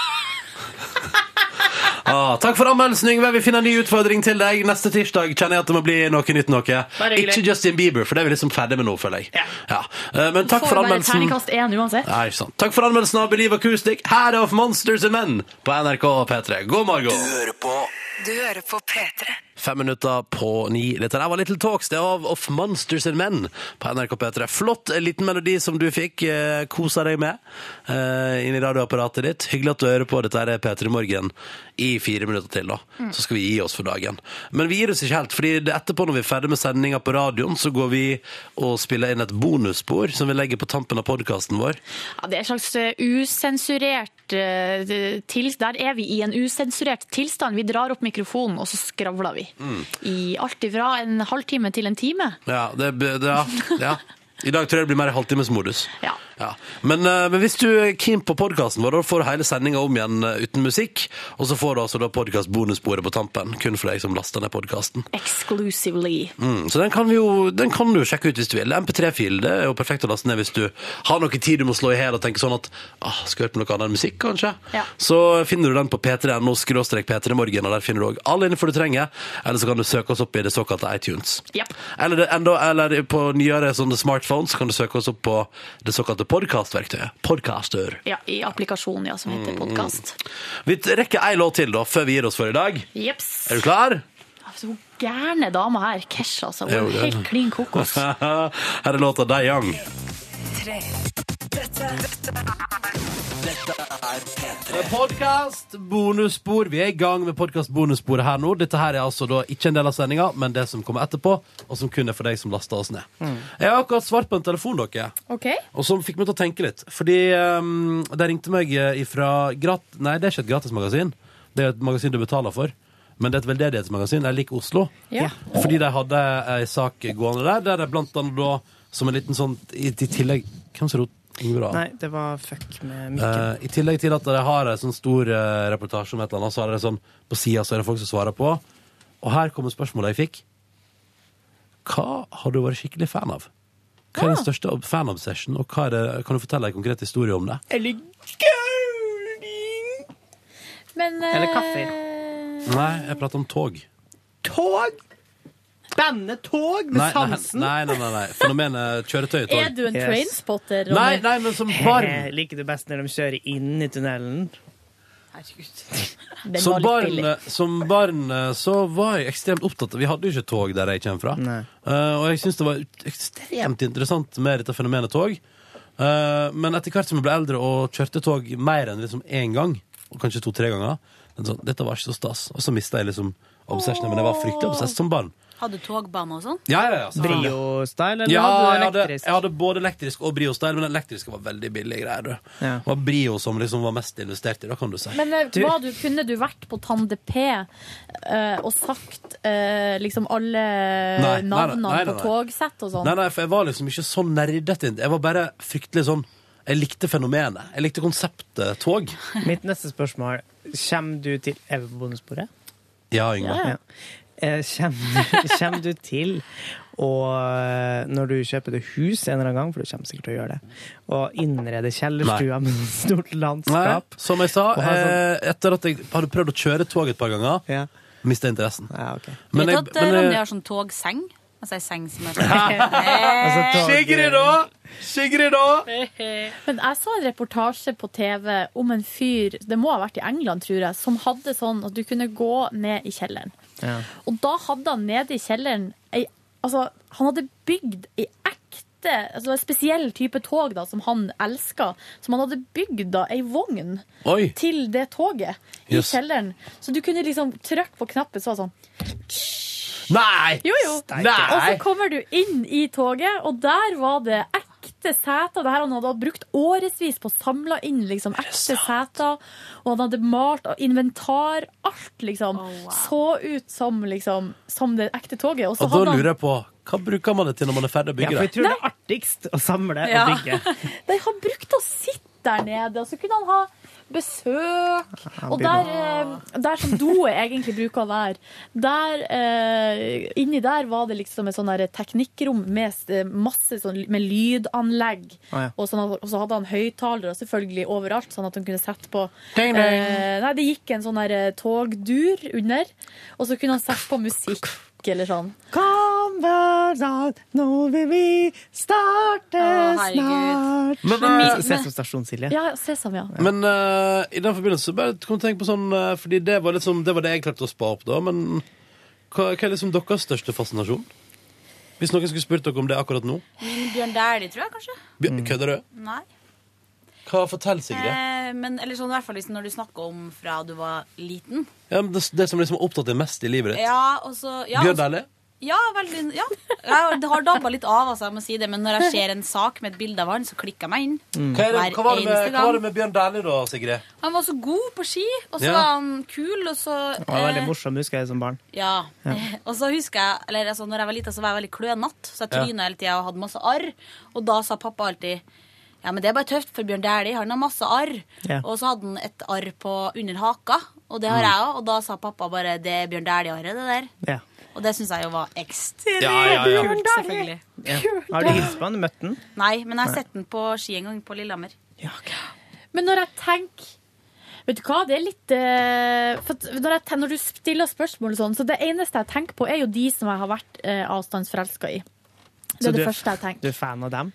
S2: Ah, takk for anmeldelsen, Yngve. Vi finner en ny utfordring til deg. Neste tirsdag kjenner jeg at det må bli noe nytt noe.
S4: Bare hyggelig.
S2: Ikke Justin Bieber, for det er vi liksom ferdig med nå, føler jeg.
S3: Ja.
S2: Eh, Men takk
S4: Får
S2: for
S4: bare
S2: anmeldelsen.
S4: terningkast én uansett.
S2: Nei, ikke sant. Takk for anmeldelsen av Believe Acoustic. Her er Of Monsters and Men på NRK P3. God morgen.
S6: Du hører på P3.
S2: Fem minutter på ni. Dette der var Little Talks, det er av Of Monsters and Men på NRK P3. Flott eh, liten melodi som du fikk. Eh, kosa deg med eh, inn i radioapparatet ditt. Hyggelig at du hører på. Dette er P3 Morgen i fire minutter til, da. Så skal vi gi oss for dagen. Men vi gir oss ikke helt, fordi det- etterpå når vi er ferdig med sendinga på radioen, så går vi og spiller inn et bonusspor som vi legger på tampen av podkasten vår.
S4: Ja, det er en slags eh, usensurert eh, til, Der er vi i en usensurert tilstand. Vi drar opp mikrofonen, og så skravler vi.
S2: Mm.
S4: I alt ifra en halvtime til en time.
S2: Ja, det, det, ja, ja. I dag tror jeg det blir mer halvtimesmodus.
S4: Ja.
S2: Ja. Men, eh, men hvis du er keen på podkasten vår, da får du hele sendinga om igjen eh, uten musikk. Og så får du altså da podkastbonussporet på tampen, kun for deg som laster ned podkasten.
S4: Exclusively.
S2: Mm, så den kan, vi jo, den kan du jo sjekke ut hvis du vil. MP3-fil det er jo perfekt å laste ned hvis du har noe tid du må slå i hjel og tenke sånn at ah, skal høre på noe annet enn musikk, kanskje.
S4: Ja.
S2: Så finner du den på p3.no skråstrek p3morgen, og der finner du òg all info du trenger. Eller så kan du søke oss opp i det såkalte iTunes.
S4: Japp.
S2: Eller, det, enda, eller på nyere sånne smartphones kan du søke oss opp på det såkalte podkastverktøyet. Podcaster.
S4: Ja, I applikasjonen ja, som
S2: Mm.
S4: heter podkast.
S2: Vi rekker ei låt til da, før vi gir oss for i dag.
S4: Jeps.
S2: Er du klar?
S4: Altså, hun gærne dama her, Kesha, altså. Hun
S2: Jo,
S4: er
S2: det er
S4: helt
S2: det.
S4: klin
S2: *laughs*
S4: kokos.
S2: Her er låta Die Young.
S6: Tre. Dette, dette
S2: Podkast, bonusspor. Vi er i gang med podkast-bonussporet her nå. Dette her er altså da ikke en del av sendinga, men det som kommer etterpå, og som kun er for deg som lasta oss ned. Jeg har akkurat svart på en telefon, dere,
S4: Ok.
S2: og som fikk meg til å tenke litt. Fordi um, de ringte meg ifra grat... Nei, det er ikke et gratismagasin. Det er et magasin du betaler for. Men det er et veldedighetsmagasin. Jeg liker Oslo.
S4: Ja.
S2: Fordi de hadde ei sak gående der, der de blant annet da, som en liten sånn I, i tillegg Hvem som rot? Ingrid Ahl?
S3: Nei, det var fuck med mikken.
S2: Eh, I tillegg til at de har en sånn stor eh, reportasje om et eller annet, så er det sånn, på sida så er det folk som svarer på. Og her kommer spørsmålet jeg fikk. Hva har du vært skikkelig fan av? Hva er din største ob- fan-obsession, og hva er det, kan du fortelle en konkret historie om det?
S3: Eller curling!
S4: Men eh,
S3: Eller kaffe.
S2: Nei, jeg prater om tog.
S3: Tog! Bandet tog med
S2: Nei, nei,
S3: sansen.
S2: nei, nei, nei, nei. fenomenet kjøretøy i
S4: Er
S2: tog.
S4: du en
S3: Yes.
S4: trainspotter, Ronny?
S2: Nei, nei, men som barn.
S3: Eh, liker du best når de kjører inn i tunnelen?
S4: Den
S2: Som
S4: var litt
S2: barn,
S4: billig.
S2: som barn eh, så var jeg ekstremt opptatt av Vi hadde jo ikke tog der jeg kommer fra.
S3: Nei.
S2: Eh, og jeg syns det var ut- ekstremt interessant med dette fenomenet tog. Eh, men etter hvert som jeg ble eldre og kjørte tog mer enn liksom én gang, og kanskje to-tre ganger, men sånn, dette var ikke så stas. Og så mista jeg liksom obsessionen. Men jeg var fryktelig obsess som barn.
S11: Hadde togbane og sånn?
S2: Ja, ja, ja, selvfølgelig.
S3: Brio-style, eller
S2: Ja,
S3: hadde
S2: jeg
S3: du
S2: hadde,
S3: elektrisk?
S2: jeg hadde både elektrisk og brio-style, men den elektriske var veldig billige greier. du.
S3: Ja.
S2: Det var brio som liksom var mest investert i, da kan du si.
S4: Men eh,
S3: Du-
S4: var du, kunne du vært på Tande P eh, og sagt eh, liksom alle
S2: Nei, nei, nei,
S4: navnene
S2: nei, nei, nei.
S4: på togsett og sånn?
S2: Nei, nei, for jeg var liksom ikke så nerdete. Jeg var bare fryktelig sånn Jeg likte fenomenet. Jeg likte konseptet tog.
S3: Mitt neste spørsmål. Kommer du til Evebondesporet?
S2: Ja, Yngve.
S3: *laughs* Ja. Eh, Kommer du til Og eh, når du kjøper deg hus en eller annen gang, for du kommer sikkert til å gjøre det, og innrede kjellerstua med et stort
S2: Nei,
S3: landskap
S2: som jeg sa,
S3: Og ha sånn-
S2: eh, etter at jeg hadde prøvd å kjøre tog et par ganger,
S3: ja.
S2: mista interessen.
S4: Vet
S2: Men
S4: du
S2: jeg,
S4: at eh,
S2: men
S4: Ronny
S2: jeg,
S4: har sånn togseng? Altså ei seng som er
S2: Altså, tog- Sigrid da! Sigrid da!
S12: Men jeg så en reportasje på TV om en fyr, det må ha vært i England, tror jeg, som hadde sånn at du kunne gå ned i kjelleren. Og da hadde han nede i kjelleren ei, altså, Han hadde bygd ei ekte altså, En spesiell type tog da, som han elska. Som han hadde bygd da, ei vogn
S2: Oi.
S12: til det toget i
S2: Yes.
S12: kjelleren. Så du kunne liksom trykke på knappen, så var det sånn
S2: Nei!
S12: jo, jo. Og så kommer du inn i toget, og der var det ekte seter. Det her han hadde brukt årevis på å samle inn liksom, ekte seter. Og han hadde malt og inventar. Alt liksom så ut som, liksom, som det ekte toget. Og så
S2: Og da
S12: hadde han-
S2: lurer jeg på hva bruker man det til når man er ferdig å bygge
S3: Ja, for jeg tror det
S12: Nei.
S3: er artigst å samle
S12: Ja.
S3: og
S4: *laughs*
S3: bygge.
S12: De har brukt å sitte der nede, og så kunne han ha besøk.
S3: Han
S12: Og der, eh, der som doet egentlig bruker å være, der, eh, inni der var det liksom et sånn der teknikkrom med s- eh, masse sånn, med lydanlegg.
S13: Å, ja.
S12: og, sånn, at- og så hadde han høyttalere selvfølgelig overalt, sånn at han kunne sette på
S13: Ding, ding.
S12: Eh, Nei, det gikk en sånn der eh, togdur under, og så kunne han sette på musikk eller sånn.
S3: Kom, kamerat, nå vil vi starte
S12: Å, herregud.
S3: snart.
S2: Men, Men eh, mi-
S3: Sesam stasjon, Silje.
S12: Ja, Sesam, ja.
S2: Men eh, i den forbindelse bare kom jeg til å tenke på sånn eh, Fordi det var, litt sånn- det var det jeg klarte å spa opp da, men hva, hva er liksom deres største fascinasjon? Hvis noen skulle spurt dere om det akkurat nå?
S4: Min Bjørn Dæhlie, tror jeg kanskje.
S2: Bj- Kødder du?
S4: Nei.
S2: Hva forteller Sigrid?
S4: Eh, men, eller sånn, i hvert fall liksom, når du snakker om fra du var liten.
S2: Ja, men det, det som liksom har opptatt deg mest i livet ditt?
S4: Ja, og så ja,
S2: Bjørn
S4: og så-
S2: Dæhlie?
S4: Ja, veldig, ja. Jeg har dabba litt av, altså, jeg må si det. Men når jeg ser en sak med et bilde av han, så klikker jeg meg inn.
S2: Hva, er det,
S4: Mm. Hver
S2: hva, var det med,
S4: eneste
S2: hva var det
S4: gang.
S2: med Bjørn Dæhlie da, Sigrid?
S4: Han var så god på ski, og så
S2: Ja.
S4: var han kul, og så
S3: Han var veldig
S4: eh,
S3: morsom, husker jeg, som barn.
S4: Ja.
S3: Ja.
S4: *laughs* Og så husker jeg eller, altså, Når jeg var lita, så var jeg veldig klønete. Så jeg
S3: Ja.
S4: tryna hele tida og hadde masse arr. Og da sa pappa alltid Ja, men det er bare tøft, for Bjørn Dæhlie han har masse arr.
S3: Ja.
S4: Og så hadde han et arr på under haka, og det har
S3: Mm.
S4: jeg òg. Og da sa pappa bare det er Bjørn Dæhlie-arret, det der.
S3: Ja.
S4: Og det syns jeg jo var ekstremt
S3: Ja, ja, ja.
S4: kult, selvfølgelig.
S3: Ja. Har du hilst på han? Møtt han?
S4: Nei, men jeg
S3: Nei.
S4: har sett den på ski en gang på Lillehammer.
S12: Men når jeg tenker Vet du hva, det er litt eh, for at når, jeg, ten- når du stiller spørsmål og sånn, så det eneste jeg tenker på, er jo de som jeg har vært eh, avstandsforelska i. Det
S3: Så
S12: er
S3: du
S12: det første jeg tenker.
S3: Du er fan av dem?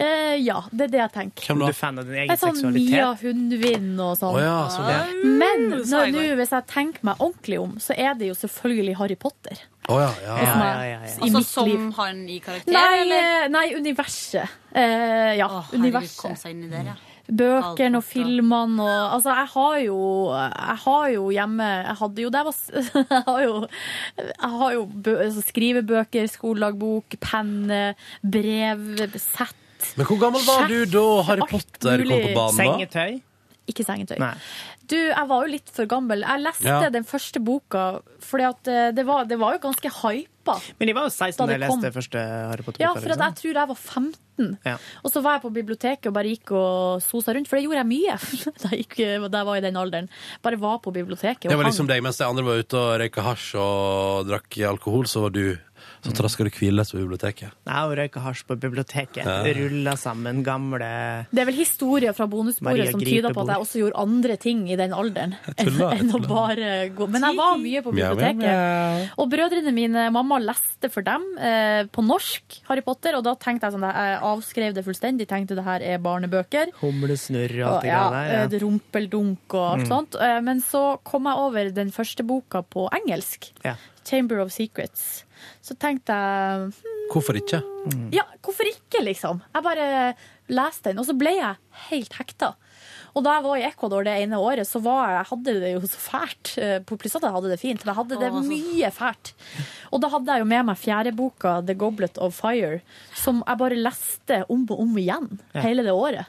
S12: Eh, ja, det er det jeg tenker.
S3: Du er fan av din
S12: Jeg
S3: egen
S12: er sånn Mia
S3: seksualitet?
S12: Hundvin og sånn.
S3: Å ja, sånn, ja.
S12: Men
S3: Uh,
S12: når,
S3: sorry.
S12: nå, hvis jeg tenker meg ordentlig om, så er det jo selvfølgelig Harry Potter.
S2: Å ja,
S3: ja.
S12: Hvis man- I
S4: Altså
S12: mitt
S4: som
S12: liv.
S4: han i karakter,
S12: Nei,
S4: eller?
S12: eh, nei universet. Eh, ja, universet.
S4: Kom seg inn i der, ja.
S12: Bøkene og filmene og Altså, jeg har jo Jeg har jo hjemme Jeg hadde jo det jeg var s- *laughs* Jeg har jo, jeg har jo bø, altså, skrivebøker, skoledagbok, penne, brev, sett.
S2: Men hvor gammel var du da Harry
S12: Alt
S2: Potter kom
S12: mulig.
S2: på banen? da?
S12: Sengetøy? Ikke sengetøy.
S2: Nei.
S12: Du, jeg var jo litt for gammel. Jeg leste
S3: Ja.
S12: den første boka, for det, var- det var jo ganske hypa.
S3: Men jeg var jo 16
S12: Da
S3: da
S12: det
S3: jeg
S12: kom.
S3: leste første Harry Potter.
S12: Ja, for at
S2: liksom.
S12: jeg tror jeg var 15.
S3: Ja.
S12: Og så var jeg på biblioteket og bare gikk og sosa rundt, for det gjorde jeg mye *laughs* da jeg, gikk, da jeg var i den alderen. Bare var på biblioteket og
S2: Det var
S12: hang.
S2: liksom deg, mens de andre var ute og røyka hasj og drakk alkohol, så var du Så traska du hvileløs på biblioteket.
S3: Jeg og røyka hasj på biblioteket.
S2: Ja.
S3: Rulla sammen gamle
S12: Det er vel historier fra bonusbordet
S3: Maria
S12: som tyder på
S3: Gripebord.
S12: at jeg også gjorde andre ting i den alderen enn
S3: tuller, jeg
S12: enn å bare gå. Men jeg var mye på
S3: Mjau, mjau,
S12: biblioteket. Og brødrene mine, mamma leste for dem eh, på norsk Harry Potter, og da tenkte jeg sånn, jeg avskrev det fullstendig, tenkte det her er barnebøker.
S3: humlesnurr og alt det
S12: ja,
S3: greia
S12: eh,
S3: der.
S12: Rumpeldunk og alt
S3: Mm.
S12: sånt. Eh, Men så kom jeg over den første boka på engelsk.
S3: Ja. Ja.
S12: Chamber of Secrets. Så tenkte jeg
S2: Hvorfor ikke?
S12: ja, hvorfor ikke, liksom? Jeg bare leste den, og så ble jeg helt hekta. Og da jeg var i Ecuador det ene året, så var jeg, hadde jeg det jo så fælt. Eh, På pluss at jeg hadde det fint, men jeg hadde det
S13: Å, altså.
S12: mye fælt. Og da hadde jeg jo med meg fjerdeboka, The Goblet of Fire, som jeg bare leste om og om igjen
S2: Ja.
S12: hele det året.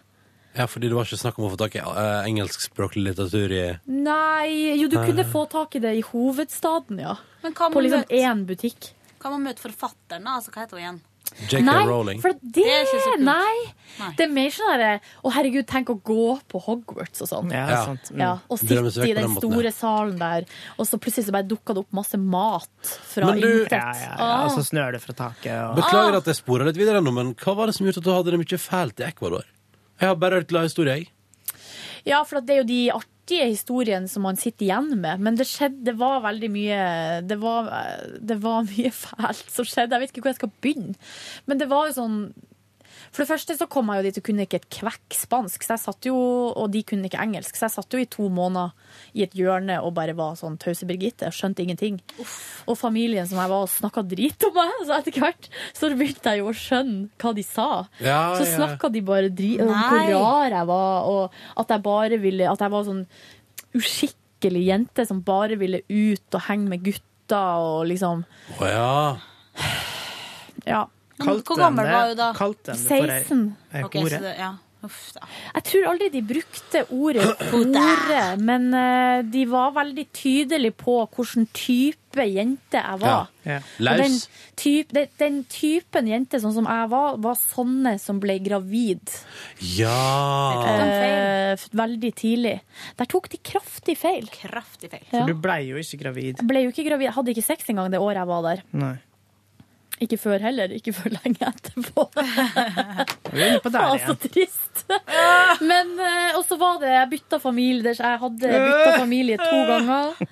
S2: Ja, fordi det var ikke snakk om å få tak i eh, engelskspråklig litteratur i
S12: Nei Jo, du
S2: Nei.
S12: kunne få tak i det i hovedstaden, ja.
S4: Men hva
S12: På
S4: med
S12: liksom
S4: møte?
S12: én butikk.
S4: Kan man møte forfatteren, da? Altså, hva heter hun igjen?
S2: J.K.
S12: Nei,
S2: Rowling.
S12: for det,
S4: Det er ikke så kult.
S12: Nei, Det er mer sånn derre Å, herregud, tenk å gå på Hogwarts og sånn.
S3: Ja, sant. Mm.
S12: Ja, og
S2: Drømme seg vekk
S12: sitte
S2: på
S12: i den
S2: den måten, ja.
S12: store salen der, og så plutselig så bare dukka det opp masse mat fra
S2: Men du-
S12: intet.
S2: Ja, ja, ja,
S3: Ja,
S12: Ah.
S3: og så snør det fra taket. Og...
S2: Beklager at jeg sporet litt videre nå, men hva var det som gjorde at du hadde det mye fælt i Ecuador? Jeg har bare hørt glad historie, jeg.
S12: Ja, for at det er jo de artige historiene som man sitter igjen med. Men det skjedde, det var veldig mye det var, det var mye fælt som skjedde. Jeg vet ikke hvor jeg skal begynne. Men det var jo sånn For det første så kom jeg jo dit og kunne ikke et kvekk spansk, så jeg satt jo, og de kunne ikke engelsk. Så jeg satt jo i to måneder i et hjørne og bare var sånn tause Birgitte, skjønte ingenting. Og familien som jeg var og snakka drit om meg, *laughs* så etter hvert så begynte jeg jo å skjønne hva de sa.
S4: Ja,
S12: så
S4: ja.
S12: snakka de bare drit om
S4: Nei.
S12: hvor rar jeg var, og at jeg bare ville At jeg var sånn uskikkelig jente som bare ville ut og henge med gutter og liksom
S2: Å ja.
S12: Ja.
S14: Men hvor gammel var hun da?
S3: Kalte
S12: 16.
S14: Ok, så det, ja. Uff, da.
S12: Jeg tror aldri de brukte ordet hore, men eh, de var veldig tydelige på hvilken type jente jeg var.
S3: Ja.
S12: Og Den, typ, den, den typen jente sånn som jeg var, var sånne som ble gravid
S2: Ja.
S12: eh, f- veldig tidlig. Der tok de kraftig feil.
S14: Kraftig feil.
S3: For du blei jo ikke gravid.
S12: Jeg ble jo ikke gravid, jeg hadde ikke sex engang det året jeg var der.
S3: Nei.
S12: Ikke før heller, ikke før lenge etterpå. *laughs*
S3: Vi er inne på der
S12: Å, så
S3: igjen.
S12: trist. Men, eh, og så var det, jeg bytta familie, der jeg hadde bytta familie to
S3: Øh.
S12: ganger.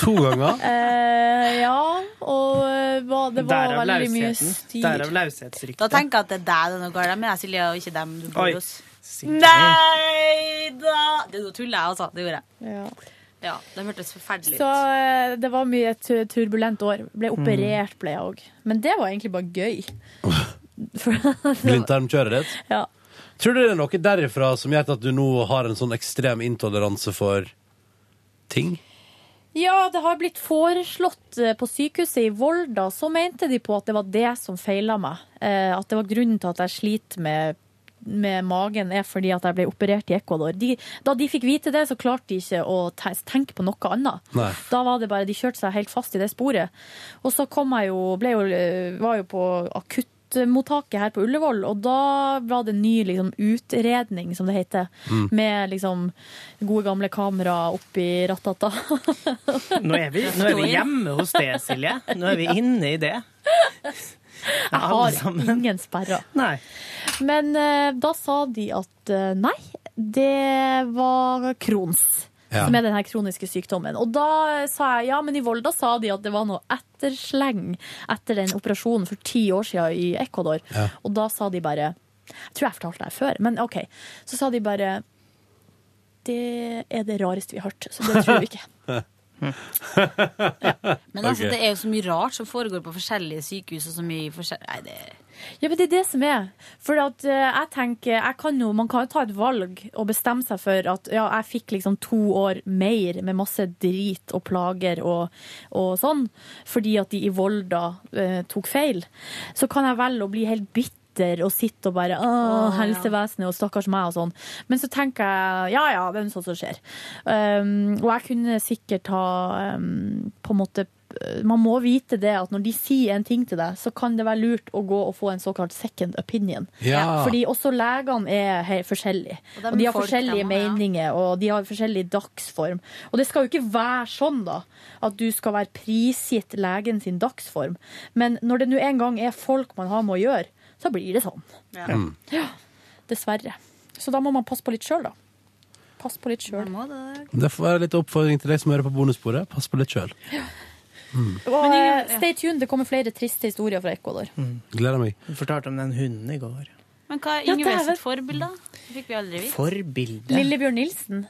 S2: To ganger.
S12: *laughs* Eh, ja, og eh, var- det var
S3: Derav
S12: veldig mye
S3: lausheten.
S12: styr.
S3: Derav
S14: Da
S3: laushetsryktet.
S14: tenker jeg at det er deg det er noe galt med, jeg, Silje, og ikke dem du bor
S3: Oi.
S14: hos. Nei da! Det er noe tull, jeg, altså. Det gjorde jeg.
S12: Ja.
S14: Ja, det hørtes forferdelig
S12: Så
S14: ut.
S12: eh, det var mye tu- turbulent år. Ble
S3: Mm.
S12: operert, ble jeg òg. Men det var egentlig bare gøy.
S2: Blindtarmkjøret ditt.
S12: Ja.
S2: Tror du det er noe derifra som gjør at du nå har en sånn ekstrem intoleranse for ting?
S12: Ja, det har blitt foreslått eh, på sykehuset i Volda, så mente de på at det var det som feila meg. Eh, At det var grunnen til at jeg sliter med, med magen, er fordi at jeg ble operert i Ecuador. De, da de fikk vite det, så klarte de ikke å te- tenke på noe annet.
S4: Nei.
S12: Da var det bare, de kjørte seg helt fast i det sporet. Og så kom jeg jo, ble jo, eh, var jo på akuttmottaket her på Ullevål, og da var det en ny liksom, utredning, som det heter,
S4: Mm.
S12: med liksom gode gamle kamera oppi rattata. *laughs*
S3: Nå er, vi, nå er vi hjemme hos det, Silje. Nå er vi inne i det.
S12: Jeg har ingen sperrer.
S3: Nei.
S12: Men eh, da sa de at eh, nei, det var Crohns.
S4: Ja.
S12: Som er den her kroniske sykdommen. Og da sa jeg ja, men i Volda sa de at det var noe ettersleng etter den operasjonen for ti år siden i Ecuador.
S4: Ja.
S12: Og da sa de bare Jeg tror jeg fortalte det her før, men OK. Så sa de bare Det er det rareste vi har hørt, så det tror
S4: *laughs*
S12: vi ikke.
S14: Men altså,
S12: Ok.
S14: det er jo så mye rart som foregår på forskjellige sykehus og så mye forskjellig Nei, det
S12: Ja, men det er det som er. For at, eh, jeg tenker, jeg kan jo, man kan jo ta et valg og bestemme seg for at ja, jeg fikk liksom to år mer med masse drit og plager og, og sånn, fordi at de i Volda eh, tok feil. Så kan jeg velge å bli helt bitter og sitte og bare Åh,
S4: Åh, ja.
S12: helsevesenet og stakkars meg og sånn. Men så tenker jeg ja ja, det er sånt som skjer. Um, og jeg kunne sikkert ha um, på en måte eh, man må vite det at når de sier en ting til deg, så kan det være lurt å gå og få en såkalt second opinion.
S4: Ja.
S12: Fordi også legene er he- forskjellige.
S4: Og de
S12: Og,
S4: er
S12: de har
S4: folk,
S12: forskjellige
S4: dem også, ja.
S12: meninger, og de har forskjellig dagsform. Og det skal jo ikke være sånn, da, at du skal være prisgitt legen sin dagsform. Men når det nå en gang er folk man har med å gjøre, så blir det sånn.
S14: Ja.
S2: Mm.
S12: Ja, dessverre. Så da må man passe på litt sjøl, da. Pass på litt sjøl.
S2: Det får være litt oppfordring til deg som hører på bonussporet. Pass på litt sjøl. Mm.
S12: Og eh, stay tuned, det kommer flere triste historier fra Ecuador.
S2: Gleder meg.
S3: Du fortalte om den hunden i går.
S14: Men hva er
S12: Ja,
S14: Ingvild
S12: dæven.
S14: sitt forbilde? da? Det fikk vi aldri vite.
S3: Forbilde.
S12: Lillebjørn Nilsen.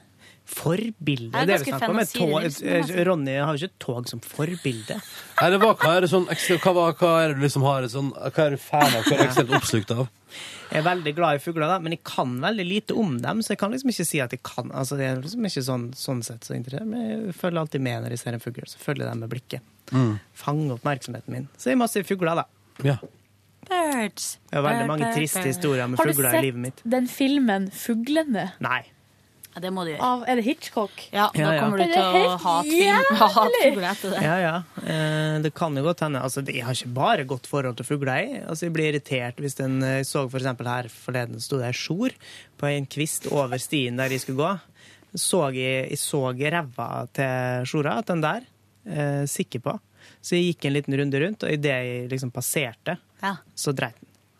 S3: Forbilde?
S14: Jeg er
S3: Det er
S14: ganske
S3: jo snakk
S14: fan
S3: om
S14: av
S3: et tog.
S14: Siri Nilsen, altså.
S3: Ronny har jo ikke et tog som forbilde.
S2: Nei, det var, hva er det sånn ekstra, hva, var- hva er det du liksom har et sånn Hva er du fan av? Hva er du ekstremt oppslukt av?
S3: Jeg er veldig glad i fugler, da, men jeg kan veldig lite om dem, så jeg kan liksom ikke si at jeg kan altså Det er liksom ikke sånn, sånn sett så interessert, men jeg følger alltid med når jeg ser en fugl. Så følger jeg dem med blikket.
S2: Mm.
S3: Fanger oppmerksomheten min. Så jeg må se fugler, da.
S2: Ja.
S14: Birds.
S3: Det er veldig mange triste historier med fugler i livet mitt.
S12: Har du sett den filmen 'Fuglene'?
S3: Nei.
S14: Ja, det må du gjøre.
S12: Av, er det Hitchcock?
S14: Ja,
S3: Ja,
S14: da
S3: ja.
S14: kommer du
S12: Er
S14: til
S12: det
S14: å
S12: helt
S14: hate film. Hate fugler etter
S3: *laughs*
S14: det.
S3: Ja, ja. Eh, Det kan jo godt hende. Altså, det- jeg har ikke bare godt forhold til fugler. Jeg, altså, jeg blir irritert hvis en eh, så for eksempel her forleden sto det en sjor på en kvist over stien der de skulle gå. Så jeg, jeg så ræva til sjora, at den der, eh, sikker på. Så jeg gikk en liten runde rundt, og idet jeg liksom passerte,
S14: Ja.
S3: så dreit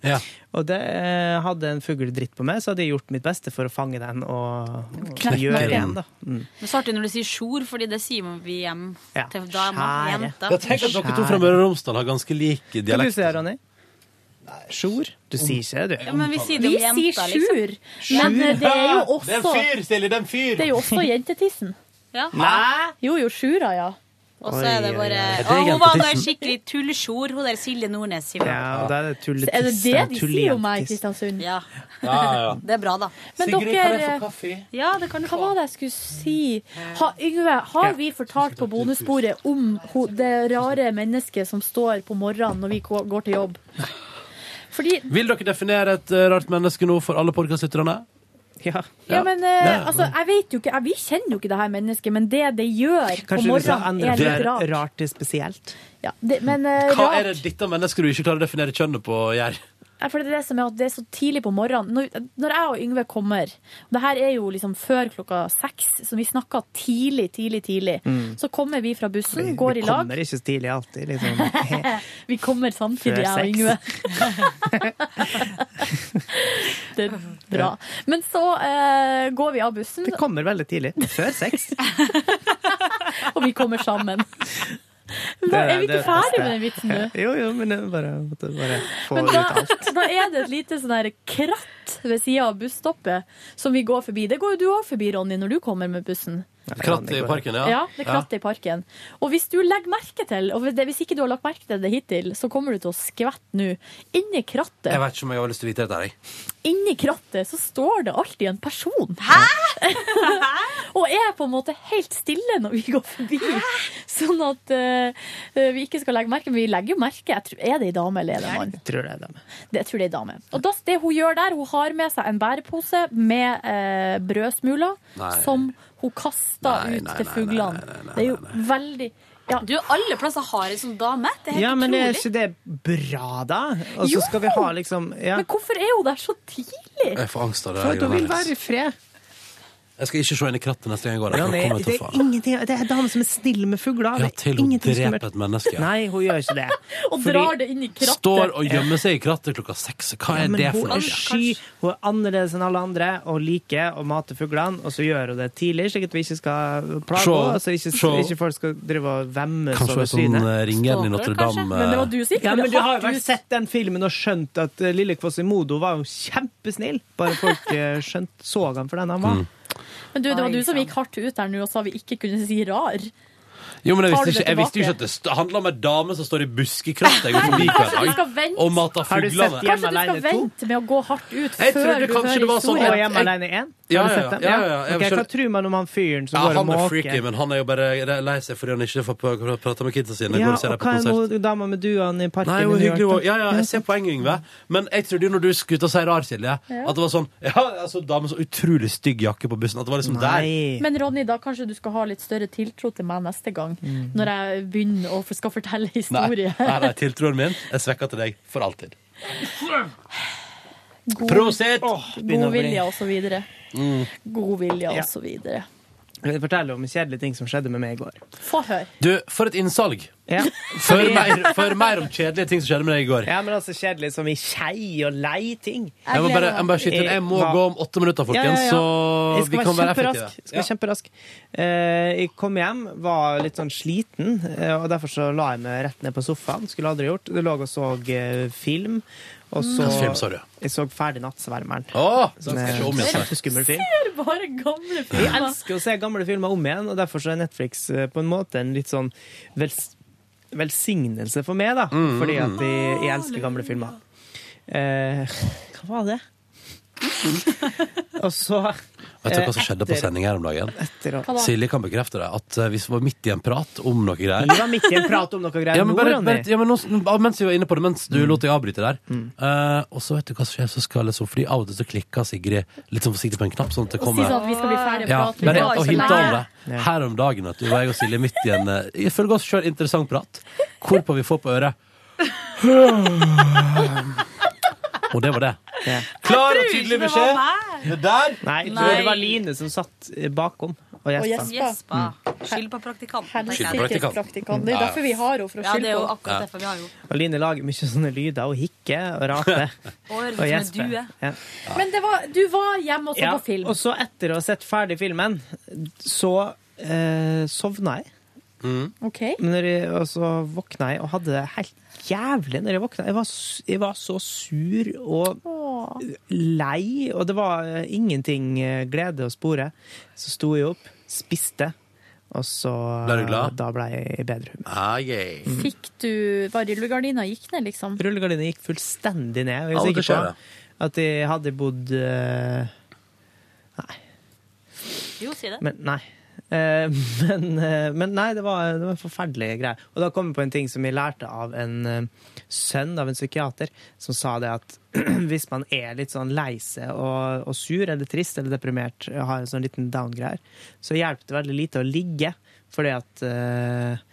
S3: den. Og det eh, hadde en fugl dritt på meg, så hadde jeg gjort mitt beste for å fange den og
S14: Knekke
S3: gjøre
S14: den.
S3: igjen, da. Mm.
S14: Det er så artig når du sier sjor, fordi det sier man vi hjem
S3: Ja.
S14: til dama.
S3: Skjære.
S14: Jenta.
S3: Jeg
S2: Tenk at dere to fra Møre og Romsdal har ganske lik
S3: Hva du
S2: dialekt.
S3: sier du, Ronny? Sjor? Du sier ikke det, du.
S14: Ja, men vi sier det om
S12: Vi
S14: jenta, liksom.
S12: sier sjur, men eh, det
S15: Det er
S12: er jo
S15: en
S12: også
S15: fyr, Silje! Det er en fyr!
S12: Det er jo også jentetissen.
S15: Nei.
S12: Jo, jo, sjura, ja.
S14: Og så er det bare
S3: Oi, oi, oi.
S14: Å,
S3: Det er
S14: hun var nå en
S3: jentetissen.
S14: skikkelig tullesjor, hun der Silje Nordnes. sier vi.
S3: Ja, og da er det tulletiss.
S12: Er det det de
S3: tulletiss.
S12: sier om meg i Kristiansund?
S14: Ja.
S3: Ja, ja.
S14: Det er bra, da.
S12: Men Sigrid, kan jeg dere- få
S15: kaffe?
S14: Ja, det kan du
S12: Hva var det jeg skulle si? Ha, Yngve, har vi fortalt på bonussporet om ho- det rare mennesket som står på morgenen når vi gå- går til jobb? Fordi
S15: Vil dere definere et eh, rart menneske nå for alle podkastlytterne?
S3: Ja.
S12: Ja, men eh,
S15: Ja.
S12: altså, jeg vet jo ikke, jeg, Vi kjenner jo ikke det her mennesket, men det det gjør på
S3: Kanskje du skal
S12: morgenen,
S3: endre
S12: er litt
S3: fra
S12: rart.
S3: rart til spesielt?
S12: Ja, det, men eh,
S15: Hva
S12: rart
S15: er det dette mennesket du ikke klarer å definere kjønnet på, gjør?
S12: Ja, For det er det som er at det er så tidlig på morgenen. Når, når jeg og Yngve kommer, og det her er jo liksom før klokka seks, så vi snakker tidlig, tidlig, tidlig,
S3: Mm.
S12: så kommer vi fra bussen, går i
S3: Vi
S12: lag.
S3: kommer ikke så tidlig alltid, liksom.
S12: Vi kommer
S3: Før
S12: samtidig, jeg
S3: seks.
S12: og Yngve. *laughs* det er bra. Men så eh, går vi av bussen,
S3: Det kommer veldig tidlig. Før sex.
S12: *laughs* og vi kommer
S3: *laughs*
S12: sammen.
S3: Det
S12: er vi
S3: det
S12: ikke ferdig
S3: beste.
S12: med den vitsen nå?
S3: *laughs* Jo, jo, men jeg bare, måtte bare få
S12: Men
S3: ut
S12: da,
S3: alt.
S12: da er det et lite sånn her kratt ved sida av busstoppet som vi går forbi. Det går jo du òg forbi, Ronny, når du kommer med bussen.
S15: Kratt i parken, ja.
S12: det krattet i parken. Og hvis du legger merke til, og hvis det- hvis ikke du har lagt merke til det hittil, så kommer du til å skvette nå. Inni
S2: Jeg
S12: krattet,
S2: vet ikke om jeg har lyst til å vite dette. her, Jeg.
S12: inni krattet så står det alltid en person. Hæ?! *laughs* og er på en måte helt stille når vi går forbi. Sånn at eh, vi ikke skal legge merke. Men vi legger jo merke. Jeg tror, er det ei dame eller er det en mann?
S3: Jeg tror det er dem.
S12: Det, jeg tror det er en dame. Og da, det hun gjør der, hun har med seg en bærepose med eh, brødsmuler
S14: Nei.
S12: som hun kaster
S14: Nei,
S12: ut
S14: nei,
S12: til
S14: nei,
S12: fuglene. Det er jo veldig ja.
S14: Du, alle plasser har en sånn dame. Det er helt
S3: Ja, men er
S14: utrolig.
S3: ikke det bra, da? Og
S12: Jo!
S3: så skal vi ha liksom ja.
S12: Men hvorfor er hun der så tidlig?
S2: Jeg får angst av det.
S3: For at hun
S2: greiene
S3: vil
S2: der.
S3: være i fred.
S2: Jeg skal ikke se inn i krattet neste gang jeg går der. for
S3: Ronny,
S2: da kommer jeg
S3: det
S2: til å
S3: er
S2: faen.
S3: ingenting Det er en dame som er snill med fugler.
S2: Ja,
S3: Det er
S2: til hun
S3: ingenting som
S2: dreper et menneske.
S3: Nei, hun gjør ikke det.
S12: *laughs* Og
S3: Fordi-
S12: drar det inn i krattet.
S2: Står og gjemmer seg i krattet klokka seks. Hva
S3: Ja,
S2: er
S3: men
S2: det for
S3: hun er
S2: noe?
S3: sky, hun er annerledes enn alle andre og liker å mate fuglene. Og så gjør hun det tidlig, slik at vi ikke skal plage
S2: Sjå,
S3: henne. Så ikke,
S2: sjå.
S3: ikke folk skal drive og vemmes
S2: Kanskje
S3: over
S2: sånn
S3: synet.
S2: eh, ringeren i Notre-Dame eh,
S3: Ja, men du har jo
S12: hardt
S3: vært sett den filmen og skjønt at eh, Lille Kvasimodo var jo kjempesnill. Bare folk eh, *laughs* skjønt, så han for den han
S2: Mm.
S3: var.
S12: Men du, det var
S3: Oi,
S12: du som gikk hardt ut der nå og sa vi ikke kunne si rar.
S2: Jo, men jeg
S12: Tar du
S2: visste,
S12: det
S2: ikke, jeg visste jo ikke
S12: tilbake?
S2: at det st- handla om ei dame som står i buskekratt jeg går forbi hver
S12: Kanskje du skal
S2: dag
S12: vente?
S2: og mater
S3: Har du sett
S2: fuglene.
S3: Hjemme
S12: Kanskje du skal
S3: alene to?
S12: vente med å gå hardt ut
S2: Jeg
S12: før
S2: trodde
S12: du
S2: kanskje det
S12: hører
S2: var sånn
S3: Og
S2: at-
S12: historien?
S3: Hjemme alene 1?
S2: Ja,
S3: har du
S2: ja,
S3: sett den?
S2: ja, ja, ja, jeg
S3: Ok,
S2: skjønner-
S3: Hva tror man om han fyren som
S2: Ja,
S3: går og
S2: han er
S3: måker?
S2: freaky, men han er jo bare lei seg fordi han ikke får p- pr- prate med kidsa sine.
S3: Ja,
S2: Går og
S3: og
S2: ser deg på
S3: hva er
S2: konsert.
S3: hun dama med duene i parken?
S2: Nei,
S3: i
S2: jo,
S3: New York,
S2: hyggelig
S3: da?
S2: også. Ja, ja, jeg ser poenget, Yngve. Men jeg trodde jo når du skulle ut og si rar, Silje,
S12: Ja.
S2: at det var sånn Ja, altså, dame så utrolig stygg jakke på bussen. At det var liksom der.
S12: Men Ronny, da kanskje du skal ha litt større tiltro til meg neste gang,
S3: Mm.
S12: når jeg begynner å skal fortelle
S2: Nei,
S12: historie.
S2: nei, nei, tiltroen min er svekka til deg for alltid.
S12: God,
S2: Prosit!
S12: god vilje og så videre.
S2: Mm.
S12: God vilje
S3: Ja.
S12: og så videre.
S3: Jeg vil fortelle om kjedelige ting som skjedde med meg i går.
S12: Få høre.
S2: Du, for et innsalg.
S3: Ja.
S2: For mer, for mer om kjedelige ting som skjedde med deg i går.
S3: *laughs* Ja, men altså kjedelig som i skei og lei ting.
S2: Jeg må bare, jeg må bare skyte inn. Jeg må
S3: Hva-
S2: gå om åtte minutter, folkens, så vi kan være effektive.
S3: Jeg skal være kjemperask. Eh, jeg kom hjem, var litt sånn sliten, eh, og derfor så la jeg meg rett ned på sofaen. Skulle aldri gjort. Du lå og så eh, film. Og så,
S2: Hvilken Mm. film så du?
S3: Jeg så ferdig 'Nattsvermeren'.
S2: Åh, så
S3: Som
S2: skal jeg
S3: er
S2: se om
S3: en
S2: igjen.
S3: kjempeskummel film.
S12: Ser bare gamle
S3: Vi
S12: filmer.
S3: elsker å se gamle filmer om igjen, og derfor så er Netflix eh, på en måte en litt sånn vels velsignelse for meg, da.
S2: Mm,
S3: fordi at jeg, jeg elsker gamle filmer. Eh, hva var det? *laughs* og så
S2: Vet du hva som
S3: Eh,
S2: skjedde på
S3: etter-
S2: sending her om dagen?
S3: Etter- Hva da?
S2: Silje kan bekrefte det. At eh, vi var midt i en prat om noe greier.
S3: Vi var midt i en prat om noe greier
S2: ja, men
S3: nå,
S2: bare,
S3: Ronny.
S2: bare, ja, men nå, ja, Mens vi var inne på det, mens du
S3: Mm.
S2: lot deg avbryte der. Eh, og så vet du hva som skjer, så skal liksom, fordi av og til så klikker Sigrid litt sånn forsiktig på en knapp. Sånn at det
S12: Og si
S2: kommer
S12: sånn at vi skal bli ferdig å
S2: ja,
S12: prate, vi
S2: bare,
S12: var
S2: og
S12: ikke
S2: hinte
S12: lei.
S2: om det. Her om dagen at du og jeg og Silje midt i en eh, ifølge oss sjøl interessant prat. Hvorpå vi får på øret *sighs* Og det var det. Klar og tydelig beskjed. Det der
S3: Nei, jeg tror
S14: Nei.
S3: det var Line som satt eh, bakom og
S14: Og
S3: gjespa.
S14: gjespa. Skyld på praktikanten. tenker jeg.
S3: Skyld på praktikanten. Praktikant. Det er derfor vi
S12: har henne, for å
S14: Ja,
S12: skylde
S14: det er jo
S12: på henne.
S14: akkurat
S3: Ja.
S14: derfor vi har henne.
S3: Og Line lager mye sånne lyder. og hikker og
S2: *laughs*
S3: raper.
S14: Og høres ut som en due.
S3: Ja.
S12: Men det var, du var hjemme og så
S3: Ja,
S12: på film.
S3: Og så etter å ha sett ferdig filmen, så eh, sovna jeg.
S12: Ok.
S3: Men når jeg, og så våkna jeg og hadde det helt jævlig når jeg våkna. Jeg var, s- jeg var så sur og lei, og det var eh, ingenting eh, glede å spore. Så sto jeg opp, spiste, og så eh,
S2: Ble du glad?
S3: Da ble jeg i bedre humør.
S2: Ah, yeah.
S3: Mm.
S12: Fikk du Var rullegardina gikk ned, liksom?
S3: Rullegardina gikk fullstendig ned.
S2: Av og
S3: Og jeg er
S2: til
S3: sikker
S2: skjer det.
S3: på at jeg hadde bodd eh,
S14: Jo, si det.
S3: Men nei. Eh, *laughs* men, eh, men nei, det var, det var en forferdelig greie. Og da kom jeg på en ting som jeg lærte av en eh, sønn av en psykiater, som sa det at *clears throat* hvis man er litt sånn lei seg og, og sur eller trist eller deprimert, og har en sånn liten down-greier, så hjelper det veldig lite å ligge, fordi at eh,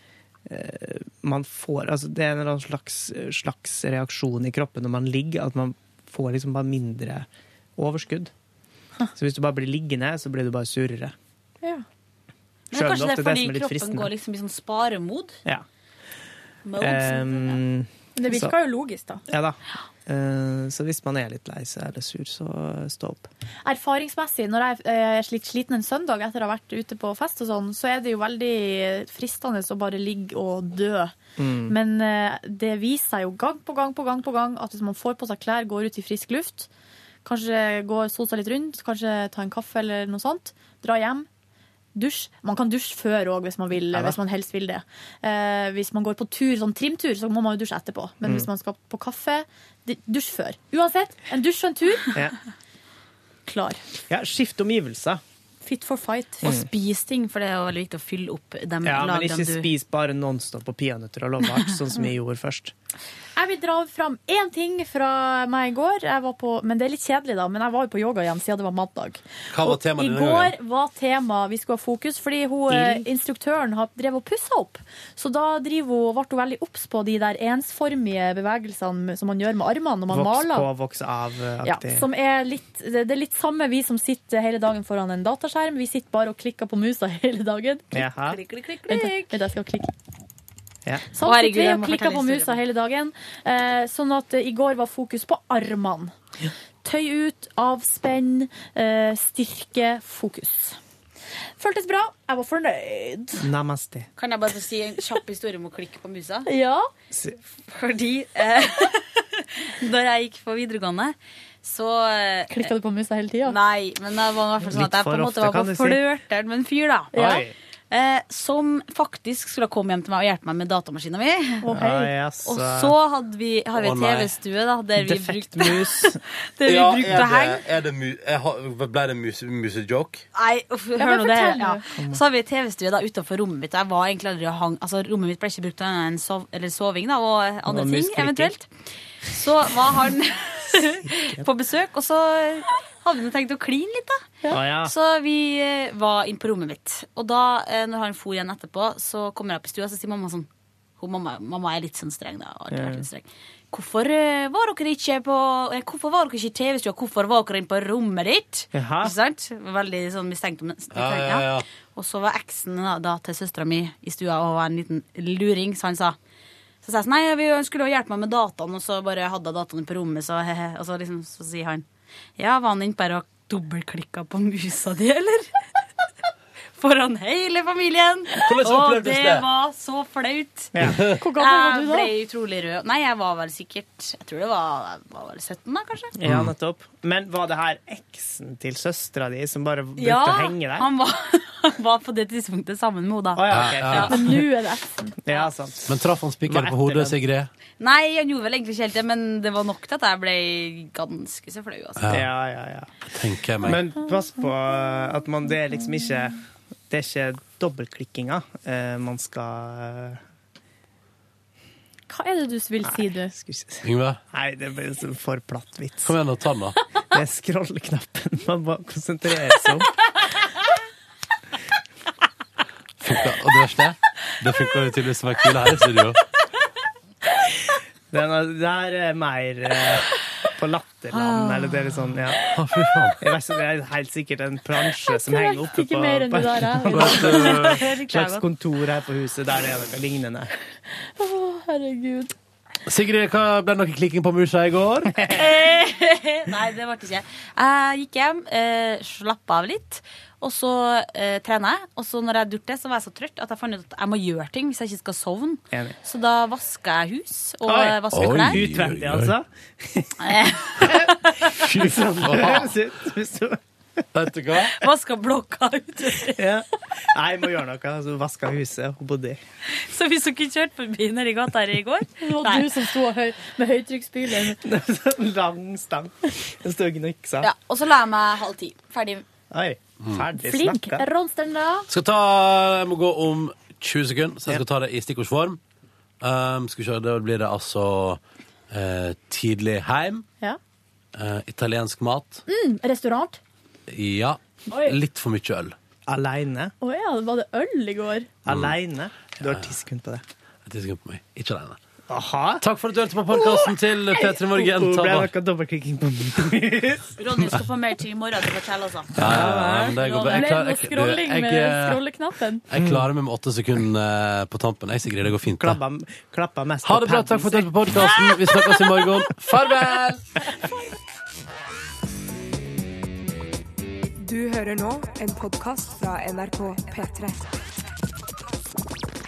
S3: eh, man får altså Det er en eller annen slags, slags reaksjon i kroppen når man ligger, at man får liksom bare mindre overskudd. Så hvis du bare blir liggende, så blir du bare surere.
S14: Men
S3: Skjønner
S14: kanskje det
S3: ofte
S14: er
S3: det
S14: fordi
S3: som er litt
S14: kroppen
S3: fristende.
S14: går liksom i sånn sparemod?
S3: Ja.
S14: Mode.
S3: Ehm,
S12: Det
S3: så-
S12: virka jo logisk, da.
S3: Ja da. Eh, så hvis man er litt lei seg eller sur, så stå opp.
S12: Erfaringsmessig, når jeg eh, er litt sliten en søndag etter å ha vært ute på fest og sånn, så er det jo veldig fristende å bare ligge og dø.
S16: Mm.
S12: Men eh, det viser seg jo gang på gang på gang på gang at hvis man får på seg klær, går ut i frisk luft, kanskje går sol seg litt rundt, kanskje ta en kaffe eller noe sånt, dra hjem. Dusj. Man kan dusje før òg, hvis, man vil,
S16: Ja da.
S12: hvis man helst vil det. Eh, hvis man går på tur, sånn trimtur, så må man jo dusje etterpå. Men
S16: Mm.
S12: hvis man skal på kaffe, d- dusj før. Uansett, en dusj og en tur.
S3: Ja.
S12: Klar.
S3: ja, skift omgivelser.
S12: Fit for fight.
S3: Mm.
S14: Og spis ting, for det er jo veldig viktig å fylle opp de
S3: Ja, men
S14: lagene
S3: ikke
S14: du
S3: spis bare Nonstop og peanøtter og lovart, sånn
S14: *laughs*
S3: som jeg gjorde først.
S12: Jeg vil dra fram én ting fra meg i går. Jeg var på, men Det er litt kjedelig, da, men jeg var jo på yoga igjen siden det var mandag.
S2: Hva var
S12: Og
S2: temaet
S12: I
S2: denne
S12: går
S2: gangen? Mm.
S12: var tema vi skulle ha fokus, fordi hun, eh, instruktøren har drevet og pussa opp. Så da driver hun, ble hun veldig obs på de der ensformige bevegelsene som man gjør med armene når man
S3: Voks
S12: maler.
S3: på, voks
S12: Ja,
S3: av-aktig.
S12: som er litt, det det er litt samme vi som sitter hele dagen foran en dataskjerm. Vi sitter bare og klikker på musa *laughs* hele dagen.
S3: Jaha.
S12: Klikk, klikk, klikk, klikk. Vent, vent, jeg skal klikke.
S3: Ja.
S12: Sånn sitter vi og klikker på musa hele dagen. Eh, sånn at eh, i går var fokus på armene. Tøy ut, avspenn, eh, styrke, fokus. Føltes bra. Jeg var fornøyd.
S3: Namaste.
S14: Kan jeg bare få si en kjapp historie om å klikke på musa?
S12: Ja.
S14: Fordi eh, *laughs* når jeg gikk på videregående, så eh,
S12: Klikka du på musa hele tida?
S14: Nei, men det var i hvert fall sånn
S12: Litt
S14: at jeg på
S12: for
S14: en
S12: ofte,
S14: måte var
S12: kan du
S14: på
S12: si.
S14: flørteren med en fyr, da.
S12: Oi.
S14: Eh, som faktisk skulle komme hjem til meg og hjelpe meg med datamaskina mi.
S12: Å, hei.
S3: Ah,
S12: Å, jaså.
S14: Og så hadde vi, har vi
S2: eh, Å,
S14: en
S2: nei.
S14: TV-stue da, der vi
S2: Defekt
S14: brukte, *laughs* der vi
S2: Ja, er
S14: brukte å henge.
S2: det- er det mu- jeg har- Ble det muse- musejoke?
S14: Nei, uff,
S2: Ja,
S14: hør
S2: men
S14: nå det.
S2: fortell
S14: Ja.
S2: nå. Kom.
S14: Så har vi TV-stue da utenfor rommet mitt. og Jeg var egentlig aldri og hang, altså Rommet mitt ble ikke brukt til annet enn sov, eller soving da, og andre
S16: Og
S14: ting
S16: musklikking.
S14: eventuelt. Så var
S2: *laughs*
S14: han *laughs* på besøk, og så hadde vi nå tenkt å kline litt, da.
S16: Ja. Å, ja.
S14: Så vi eh, var inn på rommet mitt. Og da, eh, når han for igjen etterpå, så kommer jeg opp i stua, så sier mamma sånn hun, mamma, mamma er litt sånn streng, da. Og alltid vært litt streng. Hvorfor eh, var dere ikke på eh, Hvorfor var dere ikke i TV-stua? Hvorfor var dere inne på rommet ditt?
S16: Jaha.
S14: Ikke sant? Veldig sånn mistenkt. Men,
S16: Ja, ja, ja.
S14: Og så var eksen da, da til søstera mi i stua og var en liten luring, så han sa. Så sa jeg sånn Nei, vi skulle jo hjelpe meg med dataen, og så bare hadde jeg dataen på rommet, så he-he. Og så liksom, så sier han Ja, var han inne bare og dobbeltklikka på musa di, eller? *laughs* Foran hele familien.
S16: Hvordan
S14: og
S16: opplevdes
S14: det
S16: det?
S14: var så flaut.
S12: Hvor gammel var du da?
S14: Jeg ble utrolig rød. Nei, jeg var vel sikkert Jeg tror det var, jeg var vel 17, da, kanskje.
S3: *laughs*
S12: Mm.
S3: Ja, nettopp. Men var det her eksen til søstera di som bare brukte
S14: Ja,
S3: å henge der?
S14: han var *laughs* var på det tidspunktet sammen med henne. da.
S2: ja, ok. Ja. Men
S12: nå er det eksen.
S3: Ja, sant.
S2: Men traff han spikeren
S3: Hva
S2: på
S3: etter
S2: hodet,
S3: den?
S2: Sigrid?
S14: Nei, han gjorde vel egentlig ikke helt det, men det var nok til at jeg ble ganske så flau. Altså. *laughs*
S3: Ja, ja, ja.
S2: Tenker jeg meg.
S3: Men pass på at man Det er liksom ikke Det er ikke dobbeltklikkinga eh, man skal eh,
S12: Hva er det du vil si, du?
S2: Yngve?
S3: Nei, det ble så for platt vits.
S2: Kom igjen og ta den, da.
S3: Det er scrolleknappen man må konsentrere seg om.
S2: Funka. Og det verste? Det funka jo tydeligvis som en kule her i studio. *laughs*
S3: Den er, det her er mer eh, på latterland,
S12: Ah.
S3: eller det er litt sånn, ja. Jeg vet, ikke, det er helt sikkert en plansje som
S12: Jeg
S3: henger
S12: vet
S3: oppe
S12: ikke
S3: på,
S12: mer enn
S3: på,
S12: det der, jeg.
S3: på et eh,
S12: Det er
S3: slags
S12: godt.
S3: kontor her på huset der det er noe lignende.
S12: Å, herregud.
S2: Sigrid, hva ble det noe klikking på musa i
S3: *laughs*
S2: går?
S14: Eh, Nei, det ble det ikke. Jeg gikk hjem, eh, slapp av litt, og så eh, trener jeg. Og så når jeg hadde gjort det, så var jeg så trøtt at jeg fant ut at jeg må gjøre ting hvis jeg ikke skal sovne.
S3: Enig.
S14: Så da vaska jeg hus og
S3: Oi.
S14: eh, vasker
S3: Oi,
S14: klær.
S3: Utvendig, altså. Fy faen. Det
S2: *laughs*
S3: høres ut som-
S2: Vet du hva?
S14: Vaska blokka ut. *laughs*
S3: ja. Nei, jeg må gjøre noe. Altså, vaska huset og *laughs* bodde
S14: Så hvis dere kjørte forbi nedi gata her i går
S12: Og
S14: Nei.
S12: du som sto og høy, med høytrykksspyler.
S3: sånn Lang stang. Den stod og gniksa.
S14: Ja, og så la jeg meg halv ti. Ferdig.
S3: Oi, ferdig
S12: Flink
S3: snakka.
S12: Ronstein, da.
S2: Skal ta, Jeg må gå om 20 sekunder, så jeg skal ta det i stikkordsform. Um, skal vi se, Da blir det altså eh, tidlig heim.
S12: Ja.
S2: eh, italiensk mat.
S12: Mm, restaurant.
S2: Ja.
S12: Oi.
S2: Litt for mye øl.
S3: Aleine.
S12: Å ja, var det øl i går?
S2: Mm.
S3: Aleine. Du har ti sekunder på det.
S2: Jeg tisser på meg. Ikke alene.
S3: Aha.
S2: Takk for at du hørte på podkasten til P3 Morgen.
S3: Oh,
S2: Ta
S3: ble
S2: vare-
S3: det noe dobbeltklikking på *laughs*
S14: Ronny skal få mer til i morgen til å fortelle, altså.
S2: Ja, ja, ja, men det går bra. Jeg
S12: Ble
S2: klarer-
S12: det noe
S2: jeg-
S12: scrolling
S2: jeg- eh,
S12: med
S2: jeg-
S12: scrolleknappen?
S2: Jeg klarer meg med åtte sekunder eh, på tampen. Jeg, Sigrid, det går fint. det.
S3: Klappa mest
S2: Ha det bra. Takk for at du hørte på podkasten. Vi snakkes i morgen. Farvel!
S1: Du hører nå en podkast fra NRK P3.